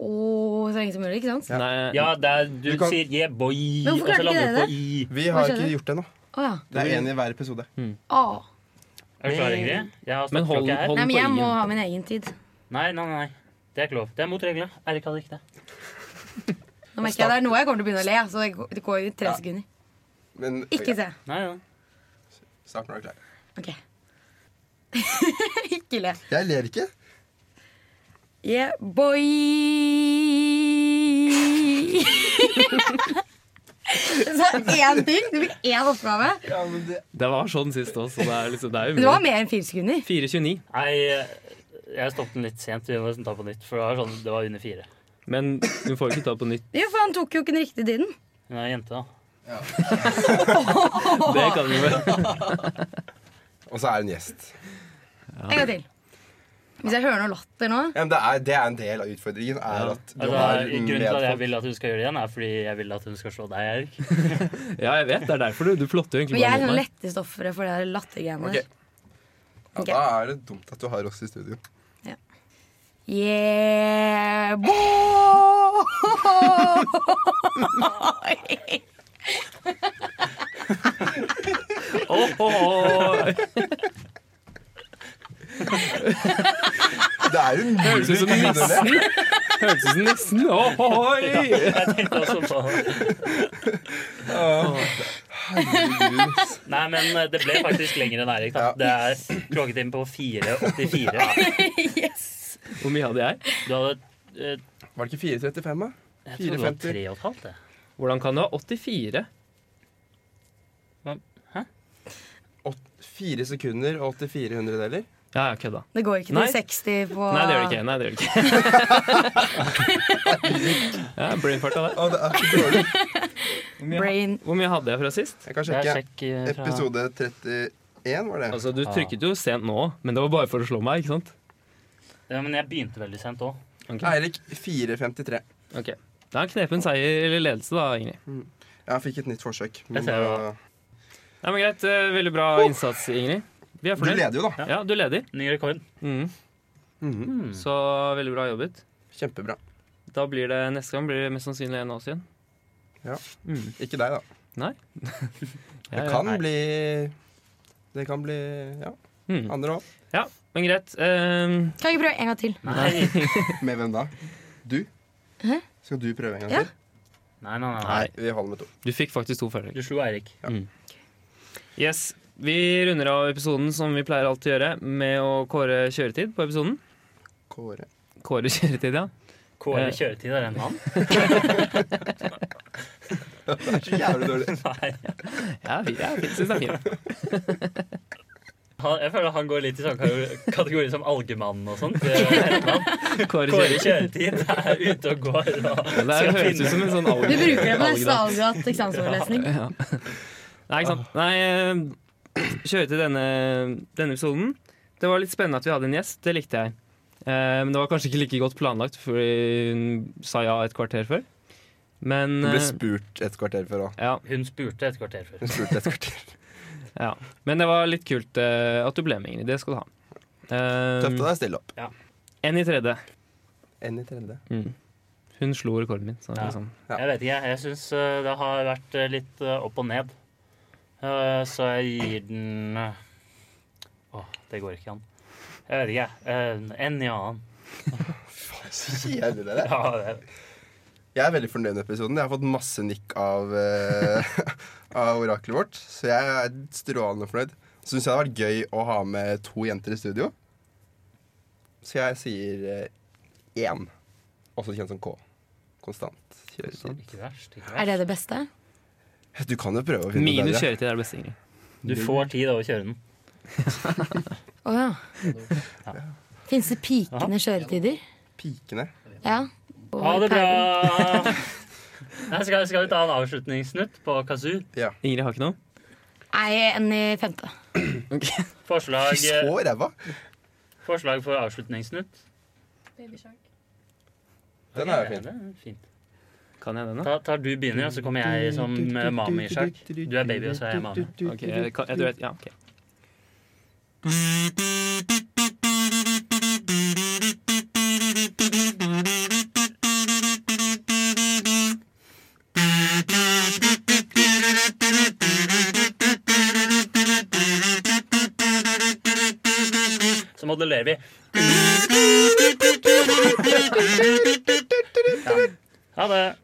Speaker 3: Og så lenge som mulig, ikke sant?
Speaker 4: Ja.
Speaker 1: Nei,
Speaker 2: Ja, det er, du,
Speaker 4: Du kan-
Speaker 2: sier yeah, boy,
Speaker 3: Men
Speaker 2: og så
Speaker 3: hvorfor klarte
Speaker 2: lander
Speaker 3: dere
Speaker 2: du på
Speaker 3: det?
Speaker 2: i.
Speaker 4: Vi
Speaker 3: Hva
Speaker 4: har
Speaker 3: skjedde?
Speaker 4: ikke gjort det ennå.
Speaker 3: Å ja.
Speaker 4: Det er én i hver episode.
Speaker 3: Å.
Speaker 2: Er du klar, Ingrid? Jeg har
Speaker 1: Men hold-
Speaker 2: stoppeklokke her.
Speaker 1: hold-
Speaker 3: Nei, men jeg må
Speaker 1: Poengen.
Speaker 3: ha min egen tid.
Speaker 2: Nei, nei, nei. Det er ikke lov. Det er mot reglene. Eirik hadde ikke det.
Speaker 3: Nå merker jeg det er noe jeg kommer til å begynne å le. Så det går- det går jo tre
Speaker 4: Ja.
Speaker 3: sekunder.
Speaker 4: Men
Speaker 3: Ikke se.
Speaker 2: Nei, ja.
Speaker 4: Snart når du er klar.
Speaker 3: Ok. ikke le.
Speaker 4: Jeg ler ikke.
Speaker 3: Yeah, boy! Så én ting. Du fikk én oppgave.
Speaker 4: Ja, men det
Speaker 1: Det var sånn sist òg, så det er, liksom, det er
Speaker 3: Men det var
Speaker 1: umulig.
Speaker 3: mer enn fire sekunder.
Speaker 1: 4.29.
Speaker 2: Nei, eh, Jeg stoppet den litt sent. Vi må nesten ta på nytt, for det var, sånn, det var under fire.
Speaker 1: Men hun får jo ikke ta på nytt.
Speaker 3: Jo, for han tok jo ikke den riktige tiden.
Speaker 2: Hun er en jente, da.
Speaker 1: Det kan vi vel.
Speaker 4: Og så er hun gjest.
Speaker 3: En gang til. Hvis jeg hører noe latter nå
Speaker 4: Ja, men det, er, det er en del av utfordringen. Er at du
Speaker 2: Altså,
Speaker 4: har
Speaker 2: grunnen til at jeg
Speaker 4: medfolk.
Speaker 2: vil at hun skal gjøre det igjen, er fordi jeg vil at hun skal slå deg, Erik.
Speaker 1: Ja, jeg vet. Det er derfor du, du flotter jo
Speaker 3: Men
Speaker 1: egentlig bare
Speaker 3: jeg er
Speaker 1: mot
Speaker 3: sånn
Speaker 1: meg.
Speaker 3: lettest offeret for det her lattergreiene.
Speaker 4: Ok.
Speaker 3: der.
Speaker 4: Ja,
Speaker 3: Ok.
Speaker 4: da er det dumt at du har oss i studio.
Speaker 3: Yeah, boy!
Speaker 1: Åh, åh, åh.
Speaker 4: Det er jo
Speaker 1: Høres
Speaker 4: mulig
Speaker 1: ut som nissen. Høres ut som nissen. Åh, åh, åh.
Speaker 2: Jeg tenkte også på Nei, men eh, det ble faktisk lenger enn Eirik. da
Speaker 4: Ja.
Speaker 2: Det er klokketime på 4.84.
Speaker 3: yes.
Speaker 1: Hvor mye hadde jeg?
Speaker 2: Du hadde eh,
Speaker 4: Var det ikke 4.35, da?
Speaker 2: Jeg tror det var
Speaker 4: 4,50.
Speaker 2: 3,5. det.
Speaker 1: Hvordan kan det være 84?
Speaker 4: Åt- Fire sekunder og 84 hundredeler.
Speaker 1: Ja, ja, kødda.
Speaker 3: Det går ikke til
Speaker 1: Nei.
Speaker 3: 60 på
Speaker 1: Nei, det gjør det ikke. Nei, det gjør det ikke. ja, brainfart av deg.
Speaker 4: Å, det er så dårlig.
Speaker 1: Hvor mye-
Speaker 3: Brain.
Speaker 1: Hvor mye hadde jeg fra sist?
Speaker 4: Jeg kan
Speaker 2: Det er
Speaker 4: sjekke.
Speaker 2: sjekk eh, fra
Speaker 4: Episode 31, var det?
Speaker 1: Altså, Du trykket jo sent nå, men det var bare for å slå meg, ikke sant?
Speaker 2: Ja, men jeg begynte veldig sent òg.
Speaker 1: Ok,
Speaker 4: Eirik 4.53.
Speaker 1: ok. Det er en knepen seier eller ledelse, da, Ingrid.
Speaker 4: Jeg fikk et nytt forsøk. Men eh,
Speaker 2: Jeg ser
Speaker 4: da,
Speaker 1: Nei, men Greit. eh, Veldig bra innsats, Ingrid. Vi er
Speaker 4: du
Speaker 1: fornøyd.
Speaker 4: leder jo, da.
Speaker 1: Ja, du leder.
Speaker 2: Ny rekord.
Speaker 1: Mhm.
Speaker 4: Mhm.
Speaker 2: Hmm.
Speaker 1: Så veldig bra jobbet.
Speaker 4: Kjempebra.
Speaker 1: Da blir det Neste gang blir det mest sannsynlig en av oss igjen.
Speaker 4: Ikke deg, da.
Speaker 1: Nei. Ja,
Speaker 4: Det
Speaker 1: ja.
Speaker 4: kan
Speaker 1: Nei.
Speaker 4: bli Det kan bli ja,
Speaker 1: Mhm.
Speaker 4: andre òg.
Speaker 1: Ja, men greit. eh,
Speaker 3: Kan jeg ikke prøve en gang til?
Speaker 2: Nei, nei,
Speaker 4: Med hvem da? Du?
Speaker 3: Hæ?
Speaker 4: Skal du prøve en gang
Speaker 3: Ja.
Speaker 4: til?
Speaker 2: nei. nei, nei.
Speaker 4: Nei, vi holder med to.
Speaker 1: du fikk faktisk to feil.
Speaker 2: Du slo Eirik.
Speaker 1: Yes, Vi runder av episoden som vi pleier alltid å gjøre, med å kåre kjøretid på episoden.
Speaker 4: Kåre.
Speaker 1: Kåre kjøretid, ja.
Speaker 2: Kåre
Speaker 1: Eh.
Speaker 2: kjøretid er en mann?
Speaker 4: Det er så jævlig dårlig.
Speaker 2: Nei.
Speaker 1: Ja, vi- ja, vi synes det er fint.
Speaker 2: Han, jeg føler han går litt i samme kate- kategori som Algemannen og sånt.
Speaker 1: Kåre
Speaker 2: Kåre
Speaker 1: kjøretid.
Speaker 2: kjøretid er ute og går og
Speaker 1: Ja, Det er- høres ut som en sånn alg-
Speaker 3: Du bruker det på neste
Speaker 1: algedans.
Speaker 3: avgatt eksamensforelesning.
Speaker 1: Ja. Nei, ikke sant. Nei, eh, kjøretid denne, denne episoden. Det var litt spennende at vi hadde en gjest. Det likte jeg. Eh, Men det var kanskje ikke like godt planlagt, fordi hun sa ja et kvarter før. Men
Speaker 4: Du ble
Speaker 1: eh,
Speaker 4: spurt et kvarter før òg.
Speaker 1: ja,
Speaker 2: Hun spurte et kvarter før.
Speaker 4: Hun spurte et kvarter.
Speaker 1: ja. Men det var litt kult eh, at du ble med, Ingrid. Det skal du ha. Eh,
Speaker 4: Tøft av deg å stille opp.
Speaker 1: En i tredje.
Speaker 4: En i tredje.
Speaker 1: Mm. Hun slo rekorden min. Så det er
Speaker 2: Ja.
Speaker 1: liksom.
Speaker 4: Ja.
Speaker 2: Jeg vet ikke, jeg syns det har vært eh, litt eh, opp og ned. Eh, Så jeg gir den eh, Åh, det går ikke an. Jeg vet ikke, jeg. Eh, En i annen.
Speaker 4: Så jævlig det der.
Speaker 2: Ja, det-
Speaker 4: Jeg er veldig fornøyd med episoden. Jeg har fått masse nikk av, eh, av oraklet vårt. Så jeg er strålende fornøyd. Så syns jeg det hadde vært gøy å ha med to jenter i studio. Så jeg sier eh, én. Også kjent som K. Konstant. kjøretid.
Speaker 2: ikke verst. Ikke
Speaker 3: Er
Speaker 2: verst.
Speaker 3: det det beste?
Speaker 4: Du kan jo prøve å finne
Speaker 1: Minus
Speaker 4: bedre.
Speaker 1: kjøretid er det beste, Ingrid.
Speaker 2: Du får tid av å kjøre den.
Speaker 3: Å ja. Fins det pikende kjøretider?
Speaker 4: Pikene.
Speaker 3: Ja. Og
Speaker 2: Ha det bra!
Speaker 3: perlen.
Speaker 2: Nei, skal, skal vi ta en avslutningssnutt på kazoo?
Speaker 4: Ja.
Speaker 1: Ingrid har ikke noe?
Speaker 3: Nei, en i femte.
Speaker 2: Forslag, eh,
Speaker 4: Så ræva!
Speaker 2: forslag for avslutningssnutt?
Speaker 4: Den er jo fin.
Speaker 2: Ja, det er Fint.
Speaker 1: Kan jeg den, da?
Speaker 2: Ta, tar du begynner, og så kommer jeg som eh, mami i sjakk. Du er baby, og så er jeg mami.
Speaker 1: Ok, jeg, kan, jeg tror jeg, ja, ok.
Speaker 2: Så modellerer vi. Ja. Ha det.